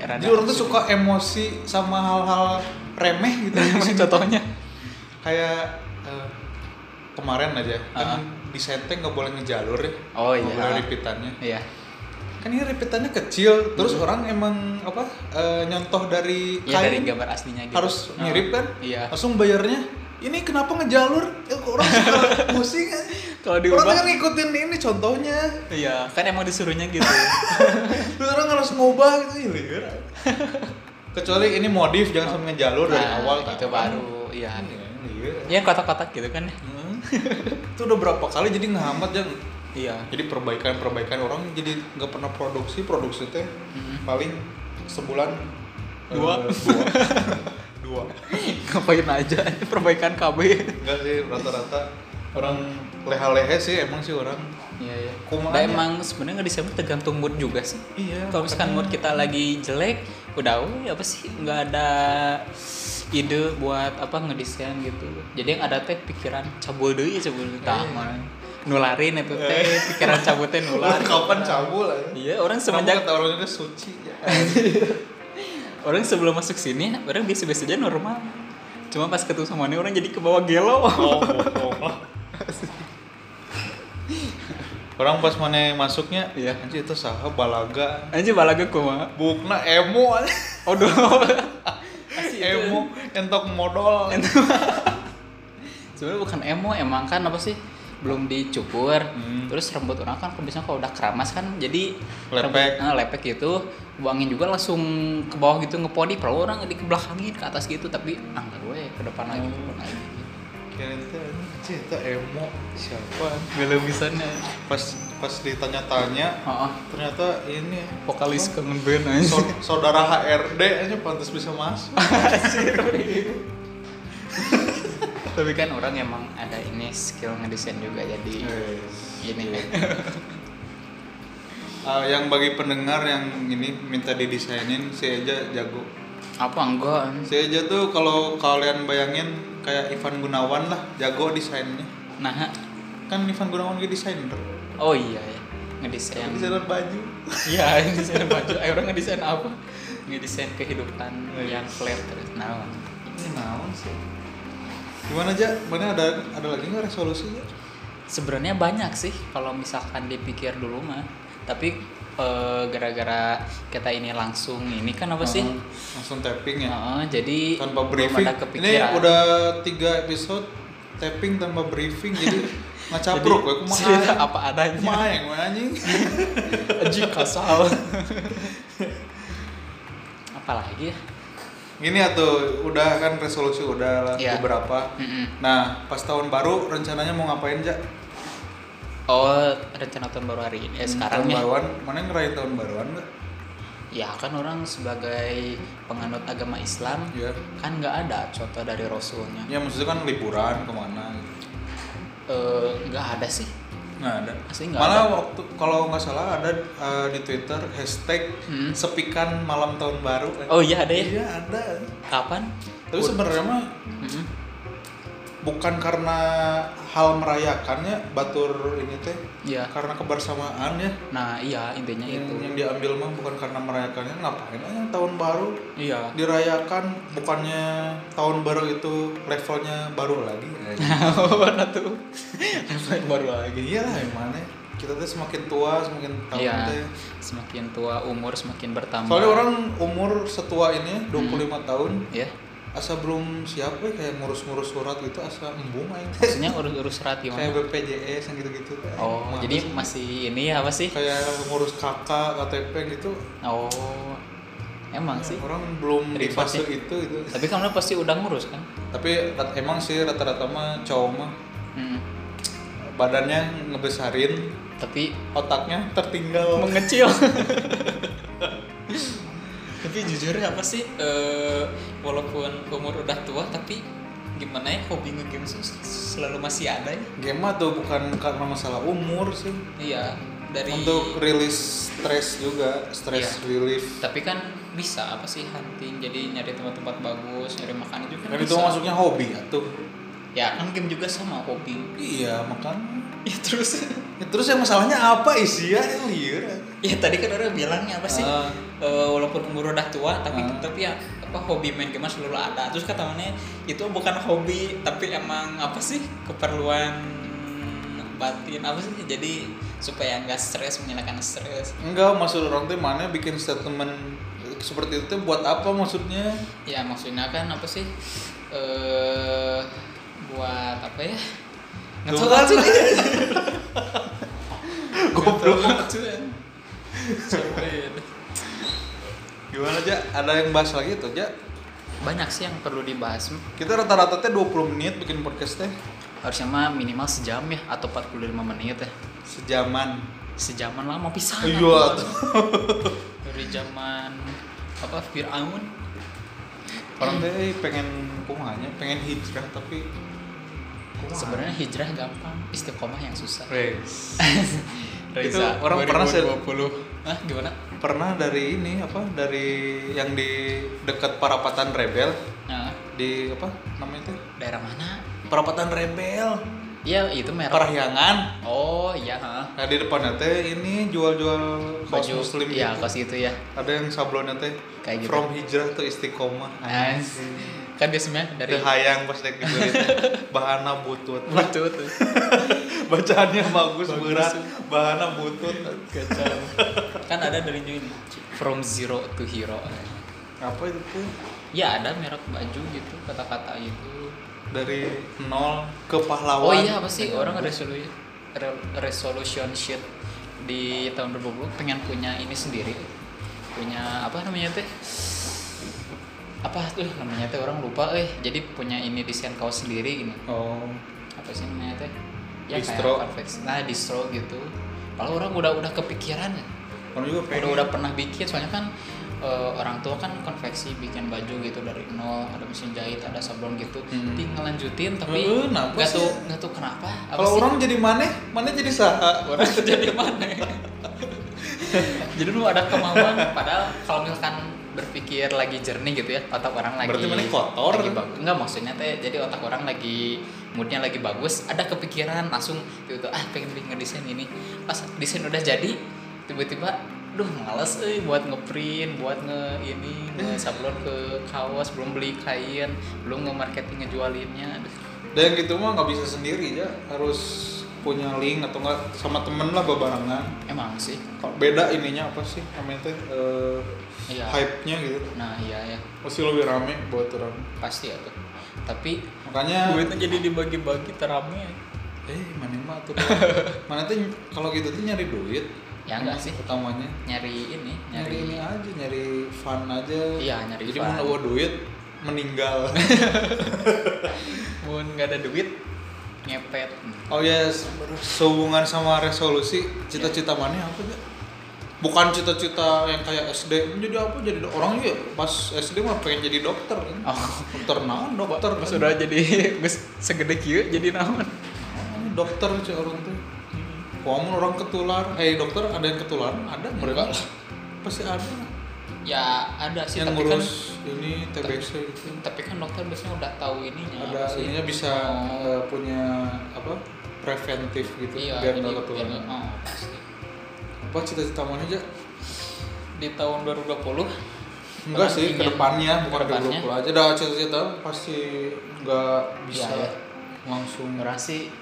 Speaker 2: Ya, rada
Speaker 1: Jadi orang tuh
Speaker 2: absurd.
Speaker 1: suka emosi sama hal-hal remeh gitu.
Speaker 2: Contohnya
Speaker 1: Kayak eh, kemarin aja
Speaker 2: Ah.
Speaker 1: kan di Senteng nggak boleh ngejalur ya.
Speaker 2: Oh,
Speaker 1: Nggak
Speaker 2: iya.
Speaker 1: boleh ripitannya.
Speaker 2: Iya.
Speaker 1: kan ini repetannya kecil terus orang emang apa eh, nyontoh dari
Speaker 2: Ya dari
Speaker 1: kain
Speaker 2: gambar aslinya gitu.
Speaker 1: harus mirip kan
Speaker 2: Iya.
Speaker 1: langsung bayarnya ini kenapa ngejalur Eh, kok orang suka pusing kan
Speaker 2: Kalau diubah-
Speaker 1: orang kan ngikutin ini contohnya
Speaker 2: Iya, kan emang disuruhnya gitu.
Speaker 1: terus orang harus ngubah gitu ya liar. kecuali ini modif jangan sampai ngejalur dari
Speaker 2: Nah,
Speaker 1: awal kan.
Speaker 2: itu baru, iya.
Speaker 1: Iya, liar.
Speaker 2: ya kotak-kotak gitu kan.
Speaker 1: Hmm. itu udah berapa kali jadi ngehambat jangan
Speaker 2: Iya.
Speaker 1: jadi perbaikan perbaikan orang jadi nggak pernah produksi produksi teh
Speaker 2: Hmm.
Speaker 1: paling sebulan
Speaker 2: Dua.
Speaker 1: eh, dua dua
Speaker 2: Ngapain aja perbaikan KB.
Speaker 1: enggak sih rata-rata orang leha-lehe sih emang sih orang
Speaker 2: Iya, iya.
Speaker 1: Kumaha
Speaker 2: Nah,
Speaker 1: ya?
Speaker 2: emang sebenarnya nggak disebut tergantung mood juga sih.
Speaker 1: Iya,
Speaker 2: Kalau misalkan
Speaker 1: makanya.
Speaker 2: mood kita lagi jelek, udah oh, apa sih nggak ada ide buat apa ngedesain gitu. Jadi yang ada teh pikiran cabul deui cabul deui.
Speaker 1: Iya,
Speaker 2: Tah, mana. nularin itu teh pikiran cabutnya nular.
Speaker 1: Orang kapan cabul aja
Speaker 2: Iya, orang
Speaker 1: semenjak
Speaker 2: semenjak
Speaker 1: kata orang itu suci ya.
Speaker 2: orang sebelum masuk sini orang biasa-biasa aja normal cuma pas ketemu sama ini orang jadi ke bawah gelo
Speaker 1: Oh, bohong lah. orang pas mana masuknya
Speaker 2: Iya.
Speaker 1: anjir itu saha balaga
Speaker 2: aja balaga kuma
Speaker 1: bukna emo aja.
Speaker 2: odo
Speaker 1: emo entok modal
Speaker 2: sebenarnya bukan emo emang kan apa sih belum dicukur
Speaker 1: Hmm.
Speaker 2: terus rambut orang kan biasanya kalau udah keramas kan jadi
Speaker 1: Lepek.
Speaker 2: rambut- eh, lepek gitu buangin juga langsung ke bawah gitu ngepodi kalau orang di ke belakangin ke atas gitu tapi ah enggak gue ke depan lagi ke depan lagi gitu.
Speaker 1: Kirain teh anjing itu emo siapa?
Speaker 2: gak bisa nih
Speaker 1: Pas pas ditanya-tanya
Speaker 2: oh,
Speaker 1: ternyata ini
Speaker 2: vokalis
Speaker 1: apa?
Speaker 2: kangen band aja
Speaker 1: So- saudara HRD aja pantas bisa masuk.
Speaker 2: tapi kan orang emang ada ini skill ngedesain juga jadi ini
Speaker 1: Eh, yang bagi pendengar yang ini minta didesainin si Eja jago
Speaker 2: apa enggak
Speaker 1: si Eja tuh kalau kalian bayangin kayak Ivan Gunawan lah jago desainnya
Speaker 2: nah
Speaker 1: kan Ivan Gunawan dia desainer
Speaker 2: oh iya ya
Speaker 1: Dia
Speaker 2: ngedesain
Speaker 1: desainer baju
Speaker 2: iya ngedesain baju Eh, orang ngedesain apa ngedesain kehidupan yang flat terus nah
Speaker 1: ini naon sih gimana aja mana ada ada lagi nggak resolusinya
Speaker 2: sebenarnya banyak sih kalau misalkan dipikir dulu mah tapi eh, gara-gara kita ini langsung iya. ini kan apa sih
Speaker 1: Heeh, langsung tapping ya
Speaker 2: Heeh, jadi
Speaker 1: tanpa
Speaker 2: belum
Speaker 1: briefing
Speaker 2: ada
Speaker 1: ini
Speaker 2: kepikiran
Speaker 1: udah tiga episode tapping tanpa briefing jadi ngacabruk
Speaker 2: ya,
Speaker 1: gue kumaha
Speaker 2: cerita apa adanya
Speaker 1: kumaha yang mana anjing
Speaker 2: aji kasal apalagi ya
Speaker 1: gini atau udah kan resolusi udah lah
Speaker 2: Iya.
Speaker 1: beberapa
Speaker 2: Mm-mm.
Speaker 1: nah pas tahun baru rencananya mau ngapain ja
Speaker 2: oh rencana tahun baru hari ini eh,
Speaker 1: tahun
Speaker 2: sekarang ya
Speaker 1: baruan mana yang ngerayain tahun baruan nggak
Speaker 2: ya kan orang sebagai penganut agama Islam
Speaker 1: Iya.
Speaker 2: kan nggak ada contoh dari Rasulnya
Speaker 1: ya maksudnya kan liburan kemana gitu.
Speaker 2: Eh, nggak ada sih
Speaker 1: nggak ada
Speaker 2: Asli nggak
Speaker 1: malah waktu kalau nggak salah ada eh, di Twitter hashtag
Speaker 2: Hmm.
Speaker 1: sepikan malam tahun baru
Speaker 2: oh iya ada ya
Speaker 1: iya ada
Speaker 2: kapan
Speaker 1: tapi sebenarnya mah
Speaker 2: Mm-mm.
Speaker 1: bukan karena hal merayakannya batur ini teh
Speaker 2: Iya.
Speaker 1: karena kebersamaan ya
Speaker 2: Nah iya intinya
Speaker 1: yang,
Speaker 2: itu.
Speaker 1: yang diambil mah bukan karena merayakannya ngapain aja tahun baru
Speaker 2: Iya.
Speaker 1: dirayakan bukannya tahun baru itu levelnya baru lagi gitu. Oh,
Speaker 2: Mana tuh? Refleks baru lagi.
Speaker 1: iyalah gimana kita tuh semakin tua semakin tahun
Speaker 2: Iya.
Speaker 1: teh
Speaker 2: Semakin tua umur semakin
Speaker 1: ya?
Speaker 2: bertambah.
Speaker 1: soalnya orang umur setua ini 25 tahun
Speaker 2: ya
Speaker 1: asa belum siap we kayak ngurus-ngurus surat gitu asa embung aing teh.
Speaker 2: maksudnya urus-urus serat
Speaker 1: kayak
Speaker 2: gimana?
Speaker 1: BPJS yang gitu-gitu teh.
Speaker 2: Oh,
Speaker 1: Malas
Speaker 2: jadi masih ini ya apa sih?
Speaker 1: kayak ngurus kakak KTP gitu
Speaker 2: Oh. Emang sih.
Speaker 1: orang belum di
Speaker 2: Ribet
Speaker 1: fase
Speaker 2: ya.
Speaker 1: itu itu
Speaker 2: Tapi kamu pasti udah ngurus kan?
Speaker 1: tapi rat- emang sih rata-rata mah cowok mah
Speaker 2: Hmm.
Speaker 1: badannya ngebesarin
Speaker 2: Tapi
Speaker 1: otaknya tertinggal
Speaker 2: mengecil. tapi jujur apa sih eh, walaupun umur udah tua tapi gimana ya hobi nge-game tuh selalu masih ada ya
Speaker 1: game mah tuh bukan karena masalah umur sih
Speaker 2: iya dari
Speaker 1: untuk rilis stres juga stres
Speaker 2: Iya.
Speaker 1: relief
Speaker 2: tapi kan bisa apa sih hunting jadi nyari tempat-tempat bagus nyari makanan juga
Speaker 1: kan
Speaker 2: kan
Speaker 1: itu
Speaker 2: bisa.
Speaker 1: masuknya hobi atuh
Speaker 2: ya kan game juga sama hobi
Speaker 1: iya makan
Speaker 2: ya terus
Speaker 1: ya, terus yang masalahnya apa isi ya liur
Speaker 2: ya tadi kan orang bilangnya apa sih
Speaker 1: Ah.
Speaker 2: eh, walaupun umur udah tua tapi
Speaker 1: Ah.
Speaker 2: tetap ya apa hobi main game selalu ada terus kata mana itu bukan hobi tapi emang apa sih keperluan batin apa sih jadi supaya nggak stres menghilangkan stres
Speaker 1: enggak maksud orang tuh mana bikin statement seperti itu teh buat apa maksudnya
Speaker 2: ya maksudnya kan apa sih eh buat apa ya
Speaker 1: Tuh
Speaker 2: ngecel
Speaker 1: kan.
Speaker 2: ngecel
Speaker 1: Goblok.
Speaker 2: ngecel Sampai.
Speaker 1: Gimana aja? Ada yang bahas lagi tuh aja.
Speaker 2: banyak sih yang perlu dibahas
Speaker 1: Kita rata-rata teh 20 menit bikin podcast teh
Speaker 2: harusnya mah minimal sejam ya atau 45 menit ya
Speaker 1: sejaman.
Speaker 2: sejaman lama pisan
Speaker 1: Iya,
Speaker 2: atuh.
Speaker 1: tuh.
Speaker 2: dari zaman apa Fir'aun
Speaker 1: Orang teh pengen kumanya, pengen hijrah tapi kumaha?
Speaker 2: sebenarnya hijrah gampang istiqomah yang susah
Speaker 1: Wes.
Speaker 2: Reza,
Speaker 1: Itu orang pernah sih-
Speaker 2: 2020. Hah, gimana
Speaker 1: pernah dari ini apa dari yang di dekat perapatan rebel
Speaker 2: nah,
Speaker 1: di apa namanya teh
Speaker 2: daerah mana
Speaker 1: perapatan rebel
Speaker 2: iya itu merah
Speaker 1: parahyangan
Speaker 2: oh iya ha.
Speaker 1: nah di depannya teh ini jual-jual kaos
Speaker 2: baju
Speaker 1: muslim
Speaker 2: ya
Speaker 1: gitu.
Speaker 2: kaos itu ya
Speaker 1: ada yang sablonnya teh
Speaker 2: Kayak gitu.
Speaker 1: from hijrah tuh istiqomah
Speaker 2: Nice. kan dia sebenarnya
Speaker 1: dari
Speaker 2: dari
Speaker 1: hayang pas dek dibeli teh. bahana butut
Speaker 2: butut
Speaker 1: bacaannya bagus,
Speaker 2: Bagus.
Speaker 1: berat bahana butut
Speaker 2: kacau kan ada dari Jun from zero to hero
Speaker 1: apa itu tuh
Speaker 2: ya ada merek baju gitu kata-kata gitu
Speaker 1: dari nol ke pahlawan
Speaker 2: oh iya apa sih orang resolusi resolution sheet di tahun 2020 pengen punya ini sendiri punya apa namanya teh apa tuh namanya teh orang lupa eh jadi punya ini desain kaos sendiri gini
Speaker 1: oh
Speaker 2: apa sih namanya teh Ya,
Speaker 1: Distro.
Speaker 2: kayak Farfetch. nah distro gitu kalau orang udah udah kepikiran ya
Speaker 1: orang juga
Speaker 2: udah
Speaker 1: pengen
Speaker 2: udah pernah bikin soalnya kan eh, orang tua kan konveksi bikin baju gitu dari nol ada mesin jahit ada sablon gitu
Speaker 1: Hmm.
Speaker 2: Ting ngelanjutin tapi
Speaker 1: Eh, kenapa
Speaker 2: nggak
Speaker 1: sih?
Speaker 2: tuh nggak tuh kenapa apa
Speaker 1: Kalau
Speaker 2: sih?
Speaker 1: orang jadi maneh, maneh jadi saha.
Speaker 2: orang jadi mana ya? jadi lu ada kemauan padahal kalau misalkan berpikir lagi jernih gitu ya otak orang lagi
Speaker 1: Berarti mana kotor.
Speaker 2: lagi bagus enggak maksudnya teh jadi otak orang lagi moodnya lagi bagus ada kepikiran langsung tiba-tiba ah pengen bikin ngedesain ini pas desain udah jadi tiba-tiba duh males eh buat ngeprint buat nge ini nge sablon ke kaos belum beli kain belum nge marketing ngejualinnya aduh
Speaker 1: Dan gitu mah nggak bisa sendiri ya, harus punya link atau enggak sama temen lah bebarengan.
Speaker 2: emang sih
Speaker 1: Kalau Beda ininya apa sih namanya teh eh,
Speaker 2: Iya.
Speaker 1: hype-nya gitu.
Speaker 2: nah iya ya
Speaker 1: Pasti lebih rame buat orang.
Speaker 2: pasti ya tuh tapi
Speaker 1: Makanya
Speaker 2: duitnya jadi dibagi-bagi terame
Speaker 1: eh mana mah tuh mana tuh kalau gitu tuh nyari duit
Speaker 2: Ya, enggak
Speaker 1: Emang
Speaker 2: sih.
Speaker 1: utamanya
Speaker 2: nyari ini
Speaker 1: nyari, ini
Speaker 2: nyari
Speaker 1: aja nyari fun aja
Speaker 2: Iya, nyari
Speaker 1: jadi
Speaker 2: fun.
Speaker 1: mau nawa duit meninggal
Speaker 2: mun nggak ada duit ngepet
Speaker 1: oh ya yes. sehubungan sama resolusi
Speaker 2: Iya.
Speaker 1: cita-cita mana apa ya bukan cita-cita yang kayak SD jadi apa jadi do- orang juga pas SD mah pengen jadi dokter kan
Speaker 2: oh
Speaker 1: dokter naon dokter
Speaker 2: Dokter sudah jadi geus segede kieu jadi naon
Speaker 1: Naon, dokter cuy orang tuh
Speaker 2: Hmm.
Speaker 1: Walaupun orang ketular, eh dokter ada yang ketularan, ada mereka lah. pasti ada lah.
Speaker 2: ya ada sih
Speaker 1: yang
Speaker 2: tapi
Speaker 1: ngurus ini TBC gitu.
Speaker 2: kan tapi kan dokter biasanya udah tahu ininya
Speaker 1: Ada
Speaker 2: apa sih.
Speaker 1: ininya bisa
Speaker 2: Oh,
Speaker 1: eh, punya apa preventif gitu
Speaker 2: iya,
Speaker 1: biar
Speaker 2: jadi
Speaker 1: nggak
Speaker 2: biar
Speaker 1: ketularan.
Speaker 2: nggak- oh, pasti.
Speaker 1: Apa cita-cita mana aja?
Speaker 2: di tahun 2020
Speaker 1: Enggak
Speaker 2: orang
Speaker 1: sih,
Speaker 2: ingin-
Speaker 1: kedepannya bukan
Speaker 2: kedepannya.
Speaker 1: dulu aja. Dah cita-cita pasti nggak bisa
Speaker 2: Iya, iya.
Speaker 1: langsung.
Speaker 2: Orang sih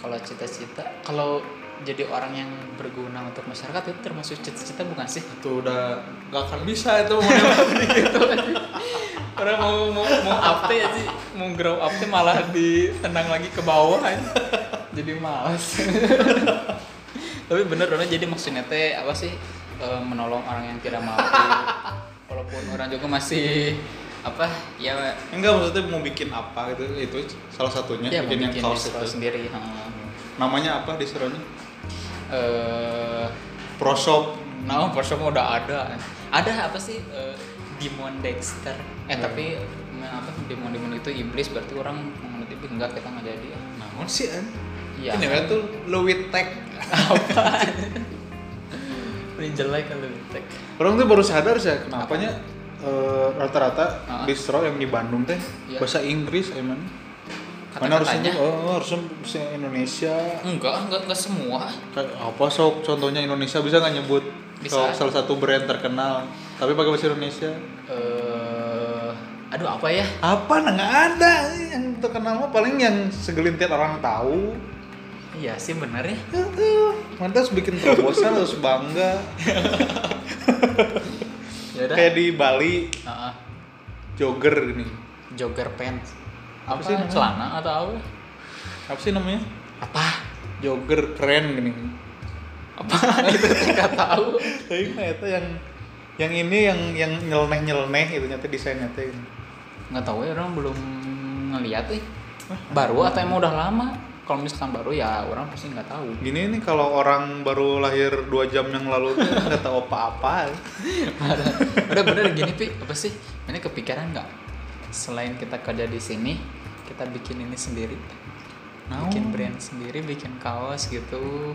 Speaker 2: kalau cita-cita kalau jadi orang yang berguna untuk masyarakat itu termasuk cita-cita bukan sih?
Speaker 1: Itu udah nggak akan bisa itu mau
Speaker 2: Orang mau mau mau up teh ya sih, mau grow up teh malah ditendang lagi ke bawah aja. Jadi males. Tapi bener orang jadi maksudnya teh apa sih? e, menolong orang yang tidak mampu. Walaupun orang juga masih apa ya
Speaker 1: Enggak maksudnya mau bikin apa gitu itu salah satunya
Speaker 2: ya
Speaker 1: bikin, yang
Speaker 2: membikin
Speaker 1: kaos
Speaker 2: distro
Speaker 1: itu.
Speaker 2: sendiri. heeh.
Speaker 1: Namanya apa distro-nya?
Speaker 2: Eh,
Speaker 1: Pro Shop.
Speaker 2: Nah, Porsche mah udah ada. Ada apa sih eh, Demon Dexter? Eh
Speaker 1: Hmm.
Speaker 2: tapi nah, apa Demon Demon itu iblis berarti orang mengerti enggak kita nggak jadi.
Speaker 1: Naon sih an?
Speaker 2: Iya.
Speaker 1: Ini kan tuh Louis Tech.
Speaker 2: Ini jelek kalau tek.
Speaker 1: Orang tuh baru sadar sih kenapanya eh, rata-rata
Speaker 2: Ah.
Speaker 1: distro yang di Bandung teh
Speaker 2: Iya.
Speaker 1: bahasa Inggris emang. Mana
Speaker 2: Kata-katanya
Speaker 1: harusnya oh, harusnya bisa Indonesia.
Speaker 2: enggak, enggak enggak semua.
Speaker 1: Kayak apa sok contohnya Indonesia bisa nggak nyebut
Speaker 2: Bisa.
Speaker 1: sok salah satu brand terkenal tapi pakai bahasa Indonesia.
Speaker 2: Eh aduh apa ya?
Speaker 1: Apa nah, nggak ada yang terkenal mah paling yang segelintir orang tahu.
Speaker 2: Iya sih benar ya.
Speaker 1: Mantap harus bikin terobosan harus bangga.
Speaker 2: Ya udah.
Speaker 1: Kayak di Bali
Speaker 2: Heeh.
Speaker 1: jogger gini.
Speaker 2: jogger pants. Apa,
Speaker 1: Apa sih namanya?
Speaker 2: celana atau apa?
Speaker 1: Apa sih namanya?
Speaker 2: Apa?
Speaker 1: Jogger keren gini.
Speaker 2: Apa itu enggak tahu.
Speaker 1: Tapi mah itu yang yang ini yang yang nyeleneh nyeleneh itu nyata desainnya teh. gini.
Speaker 2: nggak tahu ya orang belum ngeliat eh baru atau emang udah lama kalau misalkan baru ya orang pasti nggak tahu
Speaker 1: Gini nih kalau orang baru lahir dua jam yang lalu tuh nggak tahu apa-apa.
Speaker 2: udah bener gini pi apa sih ini kepikiran nggak selain kita kerja di sini kita bikin ini sendiri
Speaker 1: Naon?
Speaker 2: bikin brand sendiri bikin kaos gitu